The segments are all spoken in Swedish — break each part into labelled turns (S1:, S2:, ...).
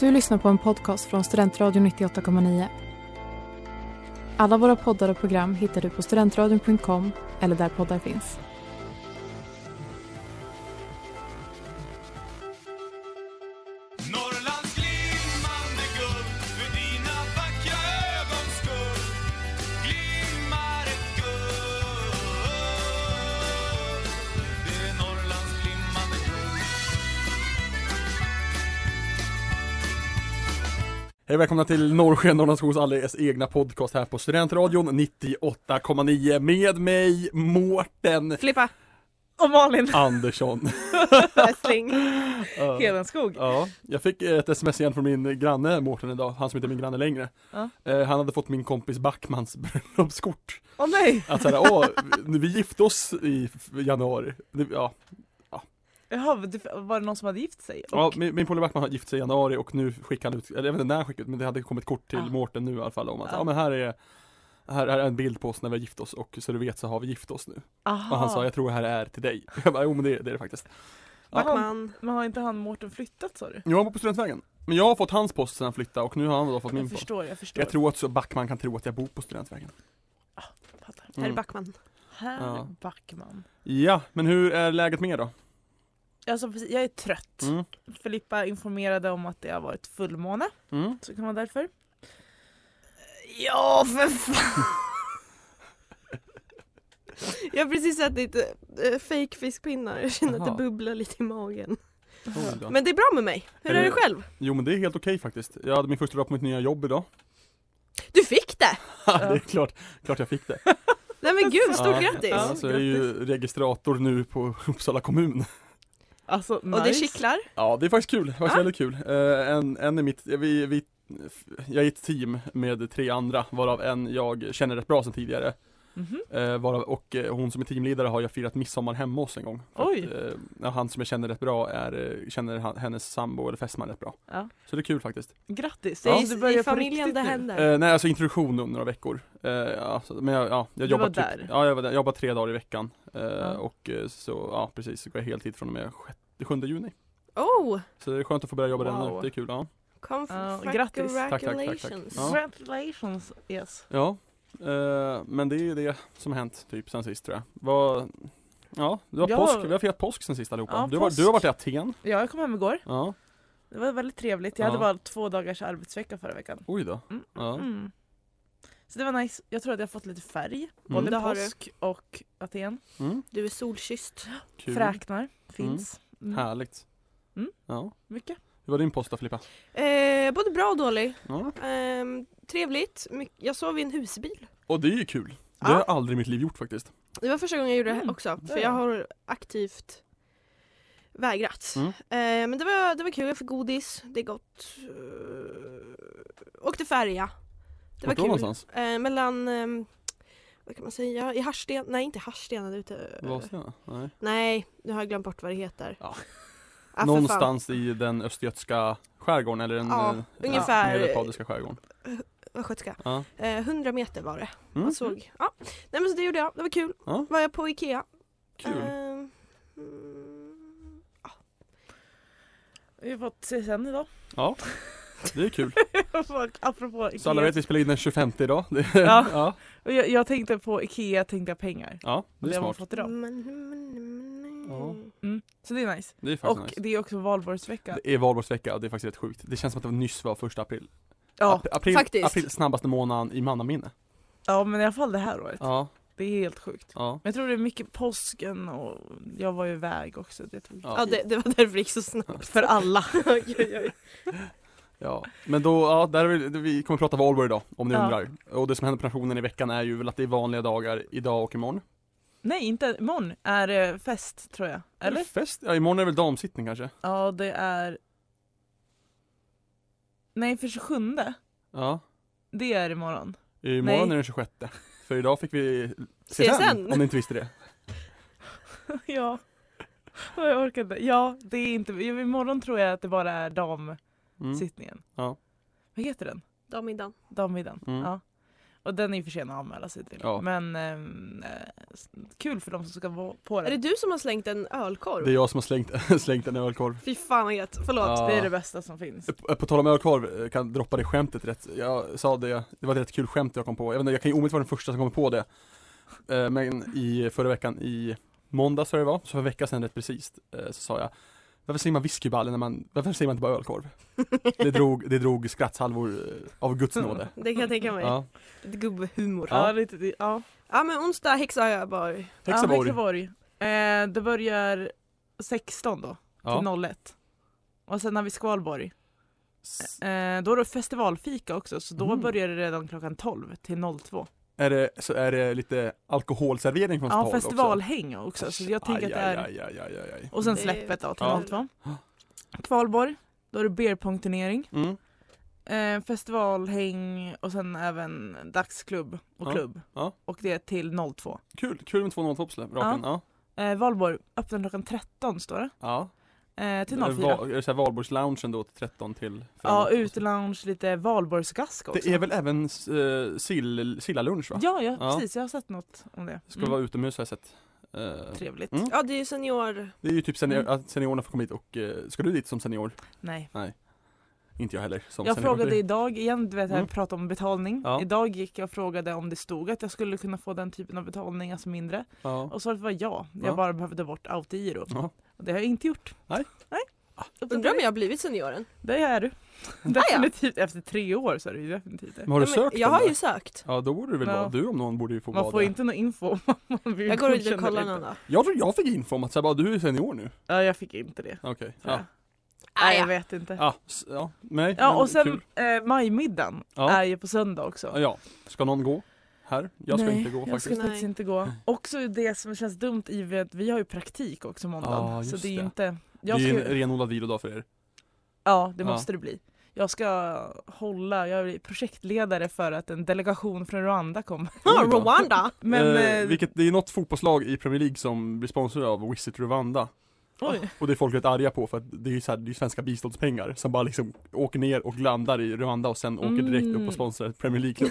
S1: Du lyssnar på en podcast från Studentradion 98,9. Alla våra poddar och program hittar du på studentradion.com eller där poddar finns.
S2: Norrlands glimmande guld för dina vackra ögons skull glimmar ett guld Det är Norrlands glimmande guld
S3: Hej och välkomna till Norrsken, Norrlandsskogs alldeles egna podcast här på Studentradion 98,9 med mig Mårten
S4: Filippa! Och Malin
S3: Andersson.
S4: Wrestling
S3: Ja.
S4: Hedenskog.
S3: ja, jag fick ett sms igen från min granne Mårten idag, han som inte är min granne längre.
S4: Ja.
S3: Eh, han hade fått min kompis Backmans bröllopskort.
S4: Åh nej!
S3: Att såhär, åh, vi gifte oss i f- januari. Det- Ja,
S4: Jaha, du- var det någon som hade gift sig? Och,
S3: ja min, min polare Backman har gift sig i januari och nu skickade han ut, eller jag vet inte när han skickade ut, men det hade kommit kort till
S4: Ja.
S3: Mårten nu i alla fall om att, ja,
S4: Ja.
S3: men här är här är en bild på oss när vi har gift oss och så du vet så har vi gift oss nu.
S4: aha.
S3: Och han sa, jag tror det här är till dig. Jag bara, jo men det, är- det är det faktiskt.
S4: Men har-
S5: Backman.
S4: Men har inte han Mårten flyttat sa du?
S3: Jo, han var på Studentvägen. Men jag har fått hans post sedan han flyttade och nu har han då fått min
S4: Jag
S3: post.
S4: förstår, jag förstår.
S3: Jag tror att så Backman kan tro att jag bor på Studentvägen.
S4: Fattar.
S5: Herr
S3: Mm.
S5: Backman.
S4: Herr
S3: Ja.
S4: Backman.
S3: Ja, men hur är läget med er då?
S4: Alltså, precis, jag är trött.
S3: Mm.
S4: Filippa informerade om att det har varit fullmåne,
S3: Mm.
S4: så det kan vara därför. Ja, för fan!
S5: Jag har precis ätit äh, fake fiskpinnar. Jag känner
S3: Jaha.
S5: att det bubblar lite i magen.
S3: Oj då.
S5: Men det är bra med mig. Hur
S3: Är
S5: är,
S3: det-
S5: det själv?
S3: Oh, Jo men det är helt okej faktiskt. Jag hade min första dag på mitt nya jobb idag.
S5: Du fick det!
S3: det är klart, klart jag fick det.
S5: Nej men gud,
S3: Ja.
S5: stort grattis!
S3: Ja, så jag är ju registrator nu på Uppsala kommun.
S4: Alltså, nice.
S5: Och det kittlar.
S3: Ja, det är faktiskt kul. Det är faktiskt
S5: Ja.
S3: väldigt kul. Eh, en, en är mitt, vi, vi, jag är i ett team med tre andra, varav en jag känner rätt bra sedan tidigare.
S4: Mhm.
S3: Eh, varav, och eh, hon som är teamledare har jag firat midsommar hemma hos en gång. För
S4: Oj.
S3: Att, eh, ja, han som jag känner rätt bra är, eh, känner han, hennes sambo eller fästman rätt bra.
S4: Ja.
S3: Så det är kul faktiskt.
S4: Grattis!
S3: Ja.
S4: Så du börjar
S5: I
S4: på
S5: familjen
S4: riktigt
S5: det
S4: nu.
S5: händer.
S3: Eh, nej alltså introduktion om några veckor. Eh, ja, så, men jag, ja, jag
S4: Du
S3: jobbar
S4: var där?
S3: Typ, ja, jag var där. Jag jobbar tre dagar i veckan. Eh,
S4: Ja.
S3: Och eh, så, ja precis, så går jag heltid från och med 6, 7 juni.
S5: Oh!
S3: Så det är skönt att få börja jobba redan nu.
S4: Wow.
S3: Det är kul. Ja.
S4: Ja,
S5: Conf-
S4: grattis. Tack,
S3: tack, tack, tack.
S5: congratulations.
S3: Ja.
S4: Congratulations! Yes.
S3: Ja, eh, men det är ju det som har hänt typ sen sist tror jag. Vad, ja, det var
S4: Jag
S3: påsk,
S4: var-
S3: vi har firat påsk sen sist allihopa.
S4: Ja,
S3: du, var,
S4: påsk.
S3: du har varit i Aten.
S4: Ja, jag kom hem igår.
S3: Ja,
S4: Det var väldigt trevligt. Jag
S3: Ja.
S4: hade bara två dagars arbetsvecka förra veckan.
S3: oj då.
S4: Mm.
S3: Ja.
S4: Mm. Så det var nice. Jag tror att jag fått lite färg.
S3: Mm.
S4: Både
S5: Det har du.
S4: påsk och Aten.
S3: Mm.
S5: Du är solkysst.
S3: Kul.
S4: Fräknar finns. Mm.
S3: Härligt.
S4: Mm.
S3: Ja.
S4: Mycket.
S3: Hur var din post då Filippa?
S5: Eh, både bra och dålig.
S3: Ja.
S5: Ehm, trevligt. My- jag sov i en husbil.
S3: Och det är ju kul. Det
S5: Ja.
S3: har jag aldrig i mitt liv gjort faktiskt.
S5: Det var första gången jag gjorde
S4: Mm,
S5: det också.
S4: det
S5: För
S4: är
S5: jag
S4: det.
S5: har aktivt vägrat.
S3: Mm.
S5: Eh, men det var, det var kul, jag fick godis, det är gott. Eh, åkte färja. Det var
S3: Vart då
S5: kul.
S3: någonstans?
S5: Eh, mellan, ehm, vad kan man säga, i Harsten, nej inte Harsten, ute.
S3: Vadå? Nej.
S5: Nej, nu har jag glömt bort vad det heter.
S3: Ja.
S5: för fan.
S3: Någonstans i den östgötska skärgården eller den
S5: Ja,
S3: eh,
S5: ungefär.
S3: medelpadiska skärgården.
S5: Östgötska.
S3: Ja.
S5: Eh, 100 meter var det.
S3: Mm.
S5: Man såg. Ja. Nej men så det gjorde jag, det var kul.
S3: Ja.
S5: Var jag på Ikea.
S3: Kul.
S5: Ehm, mm,
S4: Vi har fått CSN idag.
S3: Ja, det är kul.
S4: Apropå Ikea.
S3: Så alla vet vi spelar in den 25 idag. Det-
S4: Ja.
S3: ja.
S4: Och jag, jag tänkte på Ikea, tänkte jag pengar.
S3: Ja, det
S4: Och
S3: är
S4: har man
S3: smart.
S4: fått idag.
S5: men- men- men-
S3: Ja.
S4: Så det är nice.
S3: Det är faktiskt
S4: Och
S3: nice.
S4: det är också valborgsvecka.
S3: Det är valborgsvecka och det är faktiskt rätt sjukt. Det känns som att det var nyss var första april.
S4: Ja,
S3: Ap- april,
S5: faktiskt.
S3: april snabbaste månaden i mannaminne.
S4: ja, men i alla fall det här året.
S3: Ja,
S4: Det är helt sjukt.
S3: ja.
S4: Men jag tror det är mycket påsken och jag var ju iväg också. Det tog
S3: Ja.
S5: Ja, det, det var därför det gick så snabbt. För alla. oj, oj, oj.
S3: Ja, men då, ja, där är vi, vi kommer prata valborg idag om ni
S4: Ja.
S3: undrar. Och det som händer på nationen i veckan är ju väl att det är vanliga dagar idag och imorgon.
S4: Nej, inte imorgon är det fest tror jag. Eller?
S3: Fest? Ja, imorgon är det väl damsittning kanske?
S4: Ja, det är... Nej, för 27
S3: Ja.
S4: det är imorgon.
S3: Imorgon
S4: Nej.
S3: är det den 26. För idag fick vi CSN,
S5: CSN.
S3: om ni inte visste det.
S4: ja. Ja, Jag orkar inte. Ja, det är inte... jo, Imorgon tror jag att det bara är damsittningen.
S3: Mm. Ja.
S4: Vad heter den?
S5: Dammiddagen.
S4: Dammiddagen.
S3: Mm.
S4: Ja. Och den är ju för sen att anmäla sig till.
S3: Ja.
S4: Men ehm, eh, s- kul för de som ska vara på
S5: Är det
S4: den.
S5: du som har slängt en ölkorv?
S3: Det är jag som har slängt, slängt en ölkorv.
S5: Fy fan vad gött, förlåt.
S3: Ja.
S4: Det är det bästa som finns.
S3: På- På tal om ölkorv, eh, kan droppa det skämtet rätt. Jag sa det, det var ett rätt kul skämt jag kom på. Jag, vet inte, jag kan ju omöjligt vara den första som kommer på det. Eh, Men i förra veckan, i måndags tror jag det var, så för en vecka sedan rätt precis, eh, så sa jag Varför säger man whiskyballe när man, varför säger man inte bara ölkorv? Det drog, det drog skrattsalvor eh, av guds nåde.
S5: Det kan jag tänka mig.
S3: Ja.
S5: Lite gubbhumor.
S4: Ja, lite, det- ja.
S5: Ja men onsdag Häxaborg.
S4: Ja,
S3: Hexaborg.
S4: Hexaborg. Eh, det börjar 16 då, till
S3: Ja.
S4: 01. Och sen har vi Skvalborg. Eh, då är det festivalfika också, så då
S3: Mm.
S4: börjar det redan klockan 12 till 02.
S3: Är det, så är det lite alkoholservering från
S4: Ja,
S3: Stahl
S4: festivalhäng också.
S3: också?
S4: så jag tänker att det är...
S3: Aj, aj, aj, aj, aj.
S4: Och sen
S5: Det är
S4: släppet då, till
S3: Ja.
S4: 02. Kvalborg, då är det beerpongturnering,
S3: Mm.
S4: eh, festivalhäng och sen även dagsklubb och
S3: Ja.
S4: klubb.
S3: Ja.
S4: Och det är till 02.
S3: Kul, kul med 2-0 toppsläpp, raken. Ja.
S4: Eh, Valborg öppnar klockan 13 står det.
S3: ja.
S4: Eh, till
S3: Är det
S4: 04.
S3: va- Är det såhär Valborgsloungen då till 13 till
S4: Ja,
S3: framåt?
S4: utelounge, lite valborgsgask också.
S3: Det är väl även eh, sill, sillalunch va?
S4: Ja, ja,
S3: Ja.
S4: precis. Jag har sett något om det. Mm.
S3: Ska vara utomhus har jag sett. Eh,
S4: Trevligt.
S3: Mm.
S5: Ja det är ju senior...
S3: det är ju typ senior,
S4: Mm.
S3: att seniorerna får komma hit och, eh, ska du dit som senior?
S4: Nej.
S3: Inte jag heller som
S4: Jag
S3: senior.
S4: frågade idag igen, du vet jag
S3: Mm.
S4: pratade om betalning.
S3: Ja.
S4: Idag gick jag och frågade om det stod att jag skulle kunna få den typen av betalning, alltså mindre.
S3: Ja.
S4: Och svaret var ja, jag
S3: Ja.
S4: bara behövde bort autogiro.
S3: Ja.
S4: Och det har jag inte gjort.
S3: Nej. Ah.
S4: Nej.
S5: Undrar om Ah, jag har blivit senioren?
S4: Det är du. definitivt, efter tre år så är du ju definitivt det.
S3: Men har du
S5: ja, men
S3: sökt
S5: Jag
S3: den
S5: har
S3: där?
S5: ju sökt.
S3: Ja då borde du väl
S4: Ja.
S3: vara, du om någon borde ju få
S4: Man
S3: vara
S4: får
S3: det.
S4: inte någon info om man blir
S5: Jag går ut
S4: godkänd
S5: och kollar
S4: eller
S5: någon
S4: inte.
S5: dag.
S3: Jag tror jag fick info om att så här, bara, du är senior nu.
S4: Ja, jag fick inte det.
S3: Okej.
S4: tror jag.
S3: Ja.
S5: Ah,
S4: Nej, jag
S5: ja.
S4: vet inte. Ja,
S3: Ja. s- ja. Nej. men
S4: och sen
S3: kul.
S4: eh, majmiddagen
S3: Ja.
S4: är ju på söndag också.
S3: Ja. Ska någon gå? Här? Jag ska
S4: Nej,
S3: inte gå
S4: Jag
S3: faktiskt.
S4: ska faktiskt
S5: Nej.
S4: inte gå. Också det som känns dumt i och med att vi har ju praktik också måndag.
S3: Ja,
S4: så
S3: just
S4: det är ju
S3: det.
S4: inte...
S3: Det
S4: Jag
S3: är
S4: ska,
S3: ju en renodlad vilodag för er.
S4: Ja, det
S3: Ja.
S4: måste det bli. Jag ska hålla, jag är projektledare för att en delegation från Rwanda kommer.
S5: Ah,
S3: Oj då.
S5: Rwanda!
S4: Men...
S3: eh,
S4: eh,
S3: vilket, det är något fotbollslag i Premier League som blir sponsrade av Visit Rwanda
S4: Oj.
S3: Och det är folk rätt arga på för att det är ju så här, det är ju svenska biståndspengar som bara liksom åker ner och landar i Rwanda och sen åker direkt
S4: Mm.
S3: upp och sponsrar ett Premier League-klubb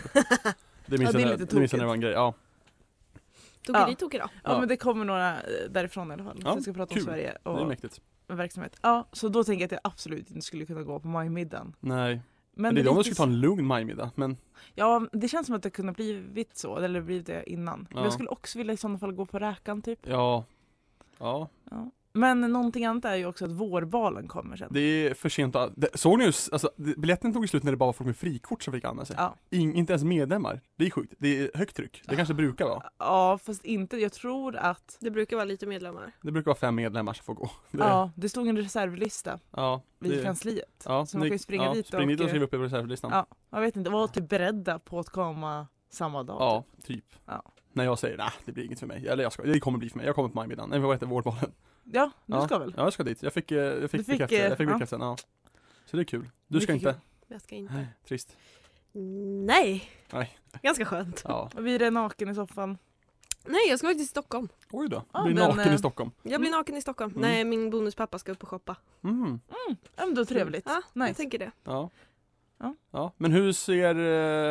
S3: Det minns
S4: Ja, det är
S3: jag
S4: lite
S3: när- det minns jag när det var en grej, ja
S4: Ja.
S5: Tokeri ja.
S4: Ja,
S3: Ja.
S4: men det kommer några eh, därifrån i alla fall.
S3: Ja,
S4: så vi ska prata om
S3: kul.
S4: Sverige
S3: det är
S4: och
S3: mäktigt
S4: verksamhet. Ja, så då tänker jag att jag absolut inte skulle kunna gå på majmiddagen.
S3: Nej,
S4: Men
S3: men det är de som
S4: lite
S3: skulle ta en lugn majmiddag men
S4: Ja, det känns som att det kunde blivit så, eller blivit det innan.
S3: Ja.
S4: Jag skulle också vilja i sådana fall gå på räkan typ.
S3: ja Ja,
S4: Ja. Men någonting annat är ju också att vårbalen kommer sen.
S3: det är för sent att, det, såg ni hur, s- alltså det- biljetten tog ju slut när det bara var folk med frikort som fick använda sig
S4: Ja.
S3: In, Inte ens medlemmar, det är sjukt, det är högt tryck, det kanske brukar vara
S4: ja, fast inte. Jag tror att
S5: Det brukar vara lite medlemmar.
S3: Det brukar vara fem medlemmar som får gå det,
S4: ja, det stod en reservlista
S3: ja,
S4: vid
S3: det-
S4: kansliet.
S3: Ja,
S4: så man
S3: ni-
S4: kan ju springa
S3: ja,
S4: dit
S3: spring
S4: och,
S3: dit och
S4: eh,
S3: skriv upp er på reservlistan.
S4: Ja, jag vet inte, var typ beredda på att komma samma dag.
S3: Ja,
S4: typ.
S3: typ.
S4: Ja.
S3: När jag säger nej, det blir inget för mig. Eller jag ska, det kommer bli för mig. Jag kommer på majmiddagen. Nej, vad heter det? Vårdbalen.
S4: ja du
S3: Ja.
S4: ska väl?
S3: Ja, jag ska dit. Jag fick, eh, jag
S4: Du
S3: fick,
S4: fick,
S3: bekräftelse.
S4: eh,
S3: Jag fick
S4: ja.
S3: bekräftelsen, ja. Så det är kul. Du ska
S4: Mycket
S3: inte?
S4: kul.
S5: Jag ska inte.
S3: Trist.
S5: Nej!
S3: Nej.
S5: Ganska skönt.
S3: Ja.
S4: Och Vi är naken i soffan.
S5: Nej jag ska faktiskt till Stockholm.
S3: Oj då.
S4: Ja,
S3: blir
S4: men,
S3: naken
S4: eh,
S3: i Stockholm.
S5: Jag blir naken i Stockholm.
S3: Mm.
S5: Nej min bonuspappa ska upp och shoppa. Mm.
S3: Mm.
S4: Ja, men då trevligt.
S5: Ja,
S4: Nice.
S5: jag tänker det.
S3: Ja.
S4: Ja.
S3: Ja, men hur ser,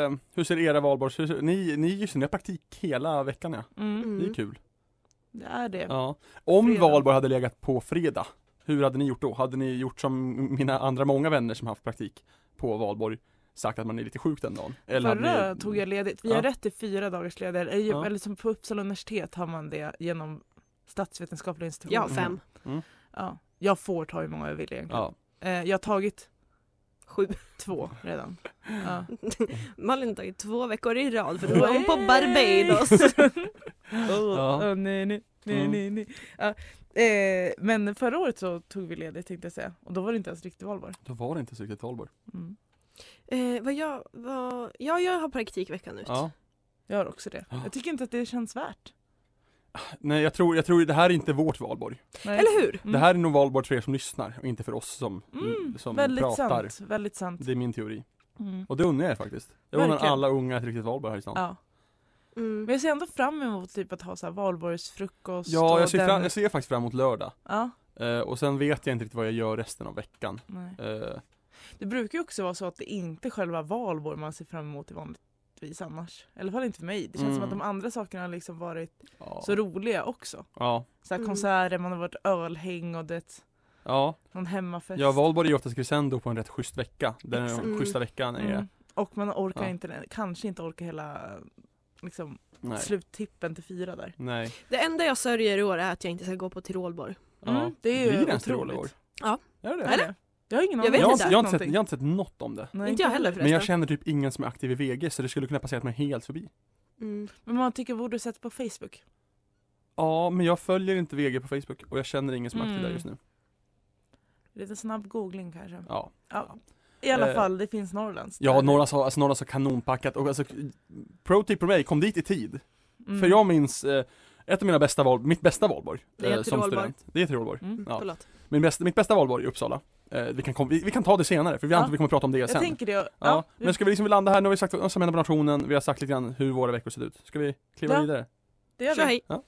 S3: eh, hur ser era valborgs... hur ser- Ni, ni, just det, ni har praktik hela veckan ja.
S4: Mm,
S5: Mm.
S3: Det är kul.
S4: det är det.
S3: Ja. Om
S4: Fredag.
S3: valborg hade legat på fredag, hur hade ni gjort då? Hade ni gjort som mina andra många vänner som haft praktik på valborg, sagt att man är lite sjuk den dagen?
S4: Förra
S3: hade ni...
S4: tog jag ledigt. Vi
S3: Ja.
S4: har rätt till fyra dagars ledighet. Eller,
S3: Ja.
S4: eller som på Uppsala universitet har man det genom statsvetenskapliga
S5: Jag
S3: Mm.
S4: institutionen.
S5: har fem.
S4: Ja. Jag får ta hur många jag vill egentligen.
S3: Ja.
S4: Eh, jag har tagit
S5: Sju.
S4: två redan. Ja.
S5: Malin har tagit två veckor i rad för då var hon på Barbados.
S4: Åh,
S3: Ja.
S4: åh, nej, nej, nej,
S3: Mm.
S4: nej, nej. Ja. Eh, men förra året så tog vi ledigt tänkte jag säga. Och då var det inte ens riktigt valborg.
S3: Då var det inte så riktigt valborg.
S4: Mm.
S5: Eh, vad jag, vad, ja jag har praktik veckan ut.
S3: Ja.
S4: Jag har också det.
S3: Ja.
S4: Jag tycker inte att det känns värt.
S3: Nej, jag tror, jag tror det här är inte vårt valborg.
S4: Nej.
S5: Eller hur?
S4: Mm.
S3: Det här är nog valborg för er som lyssnar och inte för oss som,
S4: Mm,
S3: som
S4: väldigt
S3: pratar.
S4: sant. Väldigt sant.
S3: Det är min teori.
S4: Mm.
S3: Och det undrar jag er faktiskt. Jag undrar
S4: Verkligen.
S3: alla unga ett riktigt valborg här i stan.
S4: Ja.
S5: Mm.
S4: Men jag ser ändå fram emot typ att ha så här valborgsfrukost
S3: Ja, jag
S4: och
S3: ser,
S4: den...
S3: fram, jag ser faktiskt fram emot lördag.
S4: Ja,
S3: Eh, och sen vet jag inte riktigt vad jag gör resten av veckan.
S4: nej.
S3: Eh,
S4: Det brukar ju också vara så att det inte är själva valborg man ser fram emot i vanligt vis annars. I alla fall inte för mig. Det känns
S3: Mm.
S4: som att de andra sakerna har liksom varit
S3: Ja.
S4: så roliga också.
S3: ja.
S4: Så här
S5: Mm.
S4: konserter, man har varit ölhäng och det,
S3: Ja,
S4: någon hemmafest.
S3: ja Valborg är ju oftast crescendo på en rätt schysst vecka. Den
S4: Exakt.
S5: Mm.
S3: schyssta veckan är
S4: Mm. Och man orkar
S3: Ja.
S4: inte, kanske inte orkar hela liksom,
S3: Nej.
S4: sluttippen till fyra där.
S3: Nej.
S5: Det enda jag sörjer i år är att jag inte ska gå på Tirolborg.
S3: Ja.
S4: Mm, det är ju
S3: Blir det en stråle i år?
S4: otroligt.
S5: Ja.
S3: Är det
S4: Är
S3: det?
S4: det? Jag har ingen
S5: Jag
S4: aning.
S5: vet
S3: Jag, har
S5: inte.
S3: inte- jag, har inte sett, jag har inte sett något om det.
S4: Nej,
S5: inte jag heller förresten.
S3: Men jag känner typ ingen som är aktiv i VG så det skulle kunna passera mig helt förbi.
S5: Mm.
S4: Men man tycker borde sett på Facebook.
S3: Ja, men jag följer inte VG på Facebook och jag känner ingen som är aktiv
S4: Mm.
S3: där just nu.
S4: Lite snabb googling kanske.
S3: Ja,
S4: Ja. I alla
S3: Eh,
S4: fall, det finns Norrlands.
S3: ja Norrlands har, alltså, Norrlands har kanonpackat och alltså, pro tip på mig, kom dit i tid.
S4: Mm.
S3: För jag minns eh, ett av mina bästa val, mitt bästa valborg. eh,
S5: Det är
S3: som
S5: Tirolborg.
S3: student. Det är Tirolborg.
S4: Mm.
S3: Ja.
S5: Förlåt.
S3: Min bästa, mitt bästa valborg i Uppsala. Eh, vi, kan kom, vi, vi kan ta det senare för vi
S4: Ja.
S3: antar att vi kommer prata om det
S4: Jag
S3: sen.
S4: tänker det. Ja,
S3: Ja, men ska vi liksom landa här, nu har vi sagt vad som händer på nationen, vi har sagt lite grann hur våra veckor ser ut. Ska vi kliva
S4: Ja.
S3: vidare?
S4: det gör
S5: Tja,
S4: vi.
S5: hej.
S3: Ja.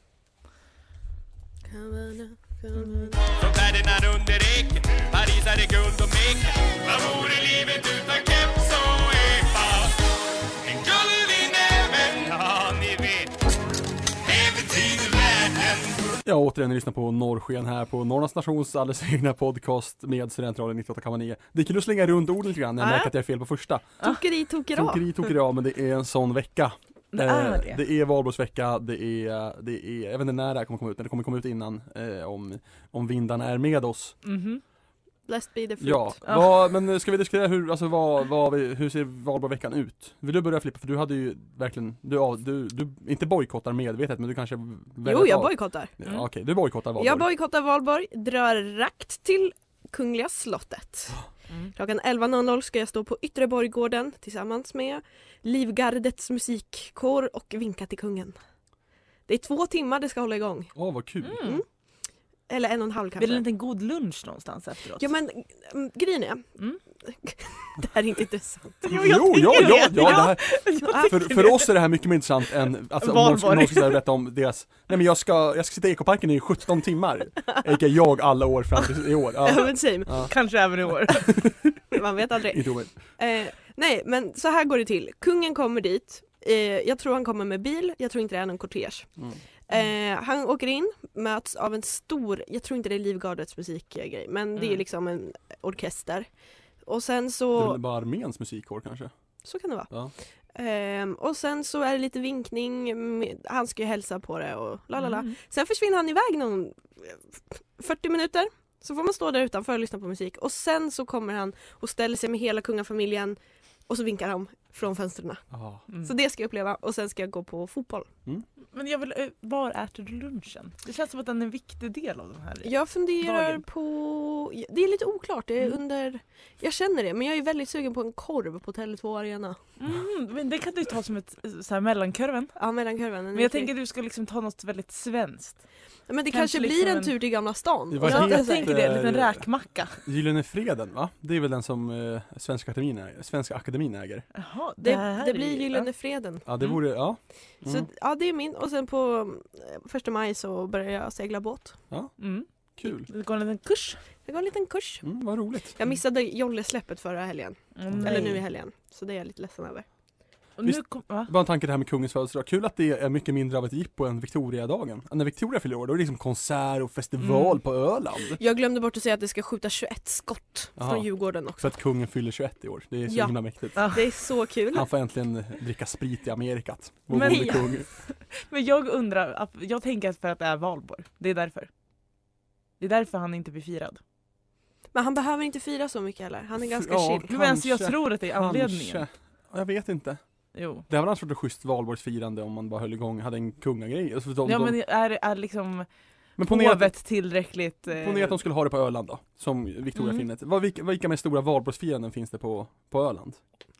S2: Från Ferdinand under eken Paris är det guld och meken Vad vore livet utan keps och epa En guld i näven, ja ni vet Det betyder världen
S3: Ja, återigen, ni lyssnar på Norrsken här på Norrlands Nations alldeles egna podcast med Studentradion 98,9. Det är kul att slänga runt orden lite grann när jag
S4: Ja.
S3: märker att jag är fel på första.
S5: Tokeri, tokera.
S3: Ah. Tokeri, tokeri, ja, men det är en sån vecka.
S4: Det
S3: Eh,
S4: är det.
S3: Det är valborgsvecka, det är, det är, jag vet inte när det här kommer komma ut, men det kommer komma ut innan eh, om, om vindarna är med oss.
S4: Mhm.
S5: Blessed be the fruit.
S3: Ja,
S4: Ja.
S3: Vad, men eh, ska vi diskutera hur, alltså vad, vad vi, hur ser valborgsveckan ut? Vill du börja Filippa? För du hade ju verkligen, du, ja, du, du inte bojkottar medvetet men du kanske
S5: Jo, jag
S3: bojkottar.
S5: bojkottar.
S3: Ja,
S4: Mm.
S3: Okej, du bojkottar valborg.
S5: Jag bojkottar Valborg, drar rakt till Kungliga slottet.
S4: Mm.
S5: Klockan 11.00 ska jag stå på Yttre Borggården tillsammans med Livgardets musikkår och vinka till kungen. Det är två timmar det ska hålla igång.
S3: Åh vad kul.
S4: Mm.
S5: Eller en och en halv
S4: Blir det en
S5: kanske.
S4: liten god lunch någonstans efteråt?
S5: Ja men mm, grejen är,
S4: Mm.
S5: det här är inte intressant.
S3: Jo, jo, ja,
S4: tänker
S3: ja,
S4: det.
S3: ja, det här,
S5: Ja,
S3: för, för oss är det här mycket mer intressant än, alltså, om någon ska,
S4: Valborg.
S3: någon ska säga- berätta om deras, nej men jag ska, jag ska sitta i ekoparken i 17 timmar, aka jag alla år fram till i år. Ja,
S5: men same.
S3: ja,
S4: Kanske även i år.
S5: Man vet aldrig.
S3: inte omöjligt.
S5: Eh, nej, men så här går det till. Kungen kommer dit. Eh, jag tror han kommer med bil. Jag tror inte det är någon kortege.
S3: Mm.
S5: Eh, han åker in, möts av en stor, jag tror inte det är Livgardets musikgrej, men det är
S4: Mm.
S5: liksom en orkester. Och sen
S3: Det
S5: så,
S3: är väl bara arméns musikkår kanske?
S5: så kan det vara.
S3: Ja.
S5: Ehm, och sen så är det lite vinkning, med- han ska ju hälsa på det och la la la.
S4: Mm.
S5: Sen försvinner han iväg någon eh, 40 minuter. Så får man stå där utanför och lyssna på musik. Och sen så kommer han och ställer sig med hela kungafamiljen och så vinkar de från fönstren.
S3: Ja.
S4: Mm.
S5: Så det ska jag uppleva och sen ska jag gå på fotboll.
S4: Men jag vill, eh, var äter du lunchen? Det känns som att den är en viktig del av den här.
S5: Jag funderar
S4: Dagen.
S5: på... Det är lite oklart, det är
S4: Mm.
S5: under... Jag känner det, men jag är väldigt sugen på en korv på Tele2 Arena.
S4: Mm, men det kan du ta som ett eh, så här, mellankurven.
S5: Ja, mellankorven. den är
S4: Men jag
S5: okej.
S4: tänker att du ska liksom ta något väldigt svenskt.
S5: men det
S4: kanske
S5: kanske
S4: liksom
S5: blir en
S4: en-
S5: tur till Gamla stan. alltså,
S3: Det var
S4: Ja, jag
S3: helt,
S4: tänker det, en liten
S3: eh,
S4: räkmacka.
S3: Gyllene Freden va? Det är väl den som eh, Svenska, akademin äger, Svenska akademin äger?
S4: Jaha, det,
S5: Det,
S4: här
S5: det
S4: är
S5: blir
S4: ju-
S5: Gyllene Freden.
S3: Ja det
S4: Mm.
S3: vore, ja. Mm.
S5: Så ja, det är min. Och sen på eh, första maj så börjar jag segla båt.
S4: Mm.
S3: Kul.
S4: Det går en liten kurs.
S5: Jag går en liten kurs.
S3: Mm, vad roligt.
S5: Jag missade jollesläppet förra helgen.
S4: Mm,
S5: Eller
S4: nej.
S5: nu i helgen. Så det är jag lite ledsen över.
S4: Och
S3: Visst-
S4: nu kom, va?
S3: Bara en tanke det här med kungens födelsedag. Kul att det är mycket mindre av ett jippo än Victoria-dagen. När Victoria fyller år då är det liksom konsert och festival
S4: Mm.
S3: på Öland.
S5: Jag glömde bort att säga att det ska skjuta 21 skott
S3: Jaha.
S5: från Djurgården också.
S3: För att kungen fyller 21 i år. Det är så
S5: Ja.
S3: himla mäktigt.
S4: Ja.
S5: Det är så kul.
S3: Han får äntligen eh, dricka sprit i Amerikat. Vår
S4: Men-
S3: gode kung.
S4: Men jag undrar, att- jag tänker att för att det är valborg. Det är därför. Det är därför han inte blir firad.
S5: Men han behöver inte fira så mycket heller. Han är ganska
S3: Ja,
S5: chill.
S4: Men alltså jag
S3: Kanske,
S4: tror att det är anledningen.
S3: Kanske. Jag vet inte.
S4: Jo.
S3: Det här var annars varit ett schysst valborgsfirande om man bara höll igång, hade en kungagrej. Alltså, de,
S4: Ja
S3: de,
S4: men är, är liksom
S3: men ponera att-
S4: hovet tillräckligt... eh,
S3: Ponera att de skulle ha det på Öland då, som Victoria
S4: Mm.
S3: mm. Vad, vilka, vilka med stora valborgsfiranden finns det på, på Öland?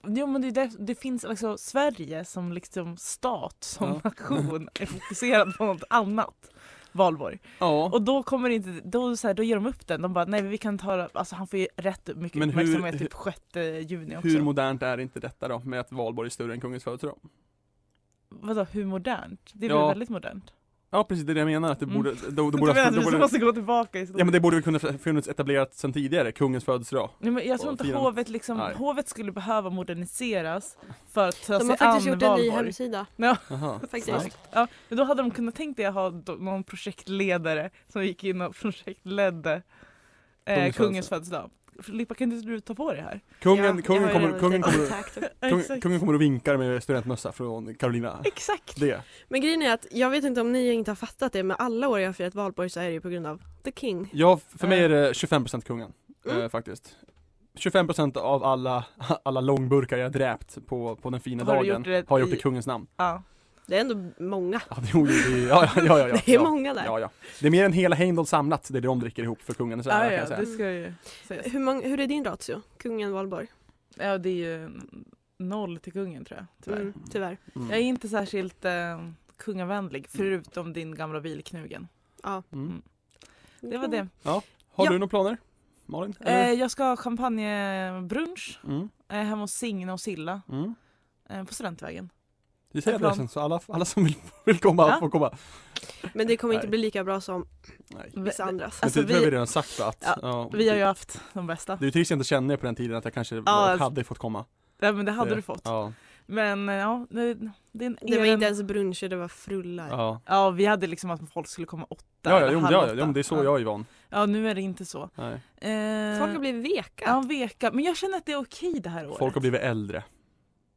S4: Jo men det, är där, det finns alltså Sverige som liksom stat, som
S3: Ja.
S4: nation är fokuserad på något annat. Valborg.
S3: Ja,
S4: Och då kommer inte, då, så här, då ger de upp den. De bara nej vi kan ta alltså han får ju rätt mycket
S3: Men hur-
S4: uppmärksamhet
S3: hur-
S4: typ 6 juni också.
S3: hur modernt är inte detta då med att valborg är större än kungens födelsedag?
S4: Vadå hur modernt? Det är väl
S3: Ja.
S4: väldigt modernt?
S3: Ja precis, det är det jag menar att det
S4: Mm.
S3: borde, mm. då, då
S4: Du
S3: borde,
S4: menar
S3: då
S4: att vi
S3: borde
S4: måste gå tillbaka i
S3: Ja men
S4: historien?
S3: det borde vi kunna funnits etablerat sedan tidigare, kungens födelsedag.
S4: Nej, men jag tror
S3: Och
S4: inte
S3: firandet.
S4: hovet, liksom,
S3: Nej.
S4: hovet skulle behöva moderniseras för att ta
S5: De har
S4: sig
S5: faktiskt
S4: an
S5: gjort en ny
S4: valborg.
S5: hemsida.
S3: Jaha.
S5: Faktiskt.
S3: Alltså, Ja.
S4: Ja, men då hade de kunnat tänkt dig att ha do- någon projektledare som gick in och projektledde eh,
S3: Kungens
S4: kungens födelsedag. Filippa kan inte du ta på dig här? Eh,
S3: Kungen,
S5: Ja, jag
S3: kungen,
S5: har ju
S3: kommer,
S5: redan
S3: kungen,
S5: lite
S3: kommer,
S5: kontakt.
S3: kungen, kungen kommer och vinkar med studentmössa från Carolina.
S5: Exakt.
S3: Det.
S5: Men grejen är att jag vet inte om ni inte har fattat det men alla år jag har firat valborg så är det ju på grund av the king.
S3: Ja, för
S4: Eh.
S3: mig är det 25% kungen,
S5: Mm.
S3: eh, faktiskt. 25% av alla, alla långburkar jag dräpt på, på den fina
S4: Har du
S3: dagen
S4: gjort det
S3: har jag gjort i
S4: i-
S3: kungens namn.
S4: Ja.
S5: Det är ändå många.
S3: Ja, det, gjorde vi- ja, ja, ja, ja, ja.
S5: det är
S3: ja.
S5: många där.
S3: Ja, ja. Det är mer än hela Heimdall samlat, det är det de dricker ihop för kungens ära
S4: Ja,
S3: kan
S4: ja,
S3: jag säga.
S4: det ska ju sägas.
S5: Hur, många, hur är din ratio? Kungen valborg?
S4: Ja, det är ju noll till kungen tror jag, tyvärr.
S5: Mm, tyvärr.
S3: Mm.
S4: Jag är inte särskilt eh, kungavänlig, förutom din gamla bilknugen.
S5: Ja.
S3: Mm.
S4: Det var det.
S3: Har
S4: Ja.
S3: du några planer? Malin?
S4: Eh,
S3: Eller?
S4: jag ska ha champagnebrunch
S3: Mm.
S4: eh, hemma hos Signe och Silla
S3: Mm.
S4: eh, på Studentvägen.
S3: Vi säger
S4: Jag har
S3: adressen så alla, alla som vill, vill komma
S4: Ja.
S3: får komma.
S5: Men det kommer inte
S3: Nej.
S5: bli lika bra som
S3: Nej.
S5: vissa andras.
S3: Men
S4: Alltså,
S3: det tror jag
S4: vi-
S3: vi redan sagt va? att,
S4: Ja,
S3: ja,
S4: Vi har ju haft de bästa.
S3: Det är ju trist jag inte kände er på den tiden att jag kanske
S4: alltså-
S3: hade fått komma.
S4: Ja, men det hade
S3: Det-
S4: du fått.
S3: Ja,
S4: Men eh, ja, det, det, är en-
S5: Det var
S4: är
S5: inte
S4: en-
S5: ens bruncher, det var frullar.
S3: ja.
S4: Ja, vi hade liksom att folk skulle komma åtta
S3: Ja, ja,
S4: eller
S3: jo, men
S4: halv
S3: ja,
S4: åtta.
S3: ja, jo, men det är så jag är van.
S4: Ja, nu är det inte så.
S3: Nej.
S4: Eh,
S5: Folk har blivit veka.
S4: Ja, veka. Men jag känner att det är okej det här året.
S3: Folk har blivit äldre.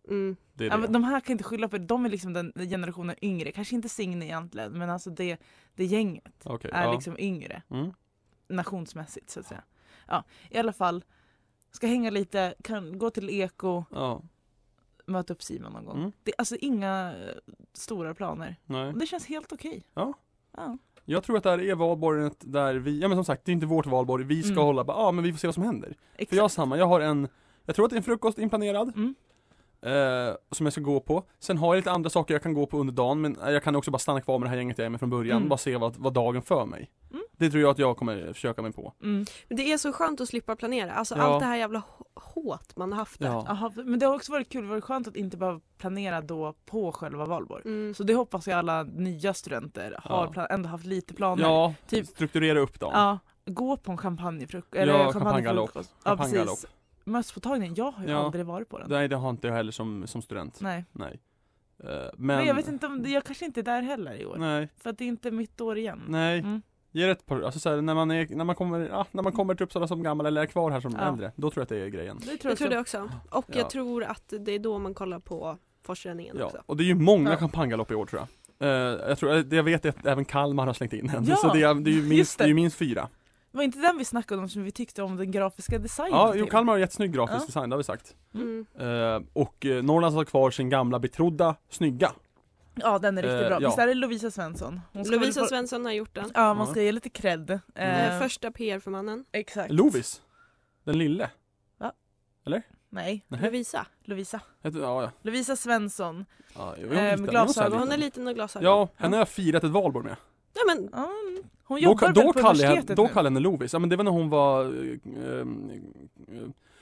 S5: Mm.
S3: Det är
S4: Ja,
S3: det.
S4: men de här kan inte skylla på De är liksom den generationen yngre. Kanske inte Signe egentligen, men alltså det, det gänget
S3: Okej,
S4: är
S3: ja.
S4: liksom yngre
S3: Mm.
S4: nationsmässigt så att säga. Ja, i alla fall. Ska hänga lite, kan gå till Eko,
S3: Ja,
S4: möta upp Simon någon gång.
S3: Mm.
S4: Det är alltså inga eh, stora planer.
S3: nej.
S4: Och det känns helt okej.
S3: Ja.
S4: ja.
S3: Jag tror att det här är valborgen där vi, ja men som sagt det är inte vårt valborg, vi ska
S4: Mm.
S3: hålla bara, ja men vi får se vad som händer.
S4: Exakt.
S3: För jag har samma, jag har en, jag tror att det är en frukost inplanerad.
S4: Mm.
S3: Eh, som jag ska gå på. Sen har jag lite andra saker jag kan gå på under dagen men eh, jag kan också bara stanna kvar med det här gänget jag är med från början,
S4: Mm.
S3: bara se vad, vad dagen för mig.
S4: Mm.
S3: Det tror jag att jag kommer försöka mig på.
S4: Mm.
S5: Men det är så skönt att slippa planera. Alltså
S3: Ja.
S5: allt det här jävla h- håt man har haft där.
S3: Ja.
S4: Jaha, men det har också varit kul, det var skönt att inte behöva planera då på själva valborg.
S5: Mm.
S4: Så det hoppas jag alla nya studenter har
S3: Ja.
S4: plan- ändå haft lite planer.
S3: Ja,
S4: Typ-
S3: strukturera upp dagen.
S4: Ja, gå på en champagnefrukost.
S3: Ja,
S4: eller
S3: champagnegalopp.
S4: champagnefrukost. Ja,
S3: Champagnegalopp.
S4: precis. Mösspåtagningen, jag har ju
S3: Ja.
S4: aldrig varit på den.
S3: Nej det har inte jag heller som, som student.
S4: Nej.
S3: Nej. Eh, men,
S4: Men, jag vet inte om, det- jag kanske inte är där heller i år.
S3: Nej,
S4: För att det är inte mitt år igen.
S3: nej.
S4: Mm.
S3: Ge det ett par, alltså så här, när man är, när man kommer, ja, när man kommer till Uppsala som gammal eller är kvar här som
S4: Ja.
S3: äldre, då tror jag att det är grejen.
S4: Det tror jag,
S5: Jag tror
S4: också.
S5: det också. Och
S3: Ja.
S5: jag tror att det är då man kollar på forsränningen
S3: Ja,
S5: också.
S3: och det är ju många
S4: Ja.
S3: champagnegalopp i år tror jag. Eh, jag, tror, det jag vet är att även Kalmar har slängt in en,
S4: Ja,
S3: så det är, det är ju minst,
S4: just
S3: det.
S4: det.
S3: är ju minst fyra.
S4: Var inte den vi snackade om som vi tyckte om den grafiska designen
S3: Ja, jo
S4: till?
S3: Kalmar har jättesnygg grafisk
S4: Ja.
S3: design, det har vi sagt.
S4: Mm.
S5: Mm.
S3: Eh, och eh, Norrlands har kvar sin gamla betrodda, snygga.
S4: Ja den är riktigt
S3: Eh,
S4: bra.
S3: ja.
S4: Visst är det Lovisa Svensson? Hon ska
S5: Lovisa
S4: väl Mm. få-
S5: Svensson har gjort den.
S4: Ja man ska
S3: Ja. Mm.
S4: ge lite cred.
S5: Eh,
S4: Eh,
S5: Första PR för mannen.
S4: Exakt.
S3: Lovis, den lille.
S4: Nej,
S3: Nej.
S5: Lovisa.
S4: Lovisa.
S3: Heter- Ja, ja.
S4: Lovisa Svensson.
S3: ja jo,
S4: Eh,
S3: visst är det.
S4: med
S3: Jo,
S4: glasögon.
S3: så här
S5: Hon
S3: liten.
S5: är liten och glasögon.
S3: Ja, henne har jag firat ett valborg med.
S5: Nej men
S4: Ja, mm. hon
S3: Då,
S4: jobbar
S3: ka-
S4: väl
S3: då,
S4: på
S3: kallade jag,
S4: universitetet
S3: då
S4: nu?
S3: kallade jag henne Lovis, ja men det var när hon var eh, eh,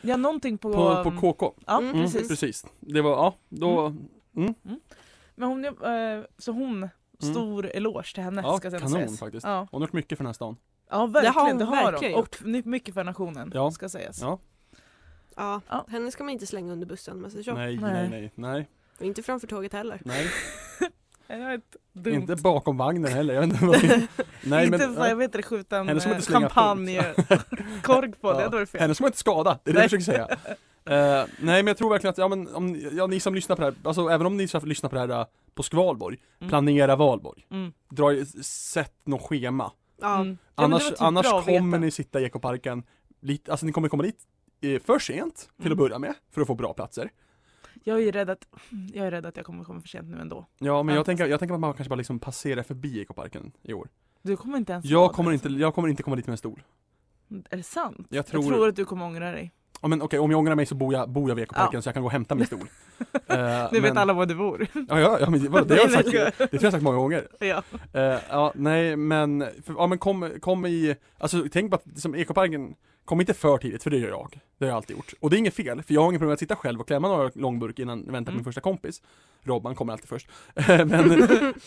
S4: Ja någonting på...
S3: på, på KK.
S4: Ja
S5: Mm.
S3: Mm,
S4: precis. Mm.
S3: precis. Det var, ja, då,
S4: Men hon, eh, så hon, stor eloge till henne
S3: Mm. ja,
S4: ska sen
S3: kanon
S4: sägas.
S3: faktiskt.
S4: Ja.
S3: Hon har gjort mycket för den här stan.
S4: ja verkligen,
S5: hon
S4: det har hon.
S5: verkligen
S4: Och ny- mycket för nationen
S3: Ja.
S4: ska sägas.
S3: Ja.
S5: ja,
S4: Ja.
S5: henne ska man inte slänga under bussen om man säger så.
S3: Nej,
S4: Nej.
S3: nej, nej, nej,
S5: Och inte framför tåget heller.
S3: nej.
S4: Det är ett dumt.
S3: Inte bakom vagnen heller, jag vet inte vad det- Nej
S4: inte
S3: men,
S4: så, jag vet inte, skjuta en
S3: Henne som
S4: eh,
S3: inte slänga
S4: champagnekork på det,
S3: Ja.
S4: då är det fel.
S3: henne ska man inte skada, det är det jag försöker säga. Eh, nej men jag tror verkligen att, ja men om, ni- ja, ni som lyssnar på det här, alltså även om ni så här lyssnar på det här eh, på Skvalborg,
S4: Mm.
S3: planera valborg.
S4: Mm.
S3: Dra, sätt något schema.
S5: Ja.
S4: Mm. Ja, men det
S3: Annars,
S4: var typ
S3: annars
S4: bra att
S3: kommer
S4: veta.
S3: ni sitta i ekoparken, lite, alltså ni kommer komma dit eh, för sent till
S4: Mm.
S3: att börja med, för att få bra platser.
S4: Jag är ju rädd att jag, är rädd att jag kommer komma för sent nu ändå.
S3: Ja men
S4: Ja.
S3: jag tänker, jag tänker att man kanske bara liksom passerar förbi ekoparken i år.
S4: Du kommer inte ens vara
S3: Jag
S4: där,
S3: kommer inte,
S4: alltså.
S3: jag kommer inte komma dit med en stol.
S4: Är det sant?
S3: Jag tror-
S4: jag tror att du kommer ångra dig.
S3: Ja men okej, om jag ångrar mig så bor jag, bor jag vid ekoparken
S4: Ja.
S3: så jag kan gå och hämta min stol. Eh,
S4: Nu vet
S3: men-
S4: alla var du bor.
S3: Ja, ja, ja men det, vadå, det, har jag
S4: Nej,
S3: sagt,
S4: men-
S3: det tror jag har sagt många gånger.
S4: ja.
S3: Eh, ja, nej men, för, ja men kom, kom i, alltså tänk på att som ekoparken Kom inte för tidigt, för det gör jag. Det har jag alltid gjort. Och det är inget fel, för jag har inget problem med att sitta själv och klämma några långburk innan jag väntar på min
S4: Mm.
S3: första kompis. Robban kommer alltid först. men,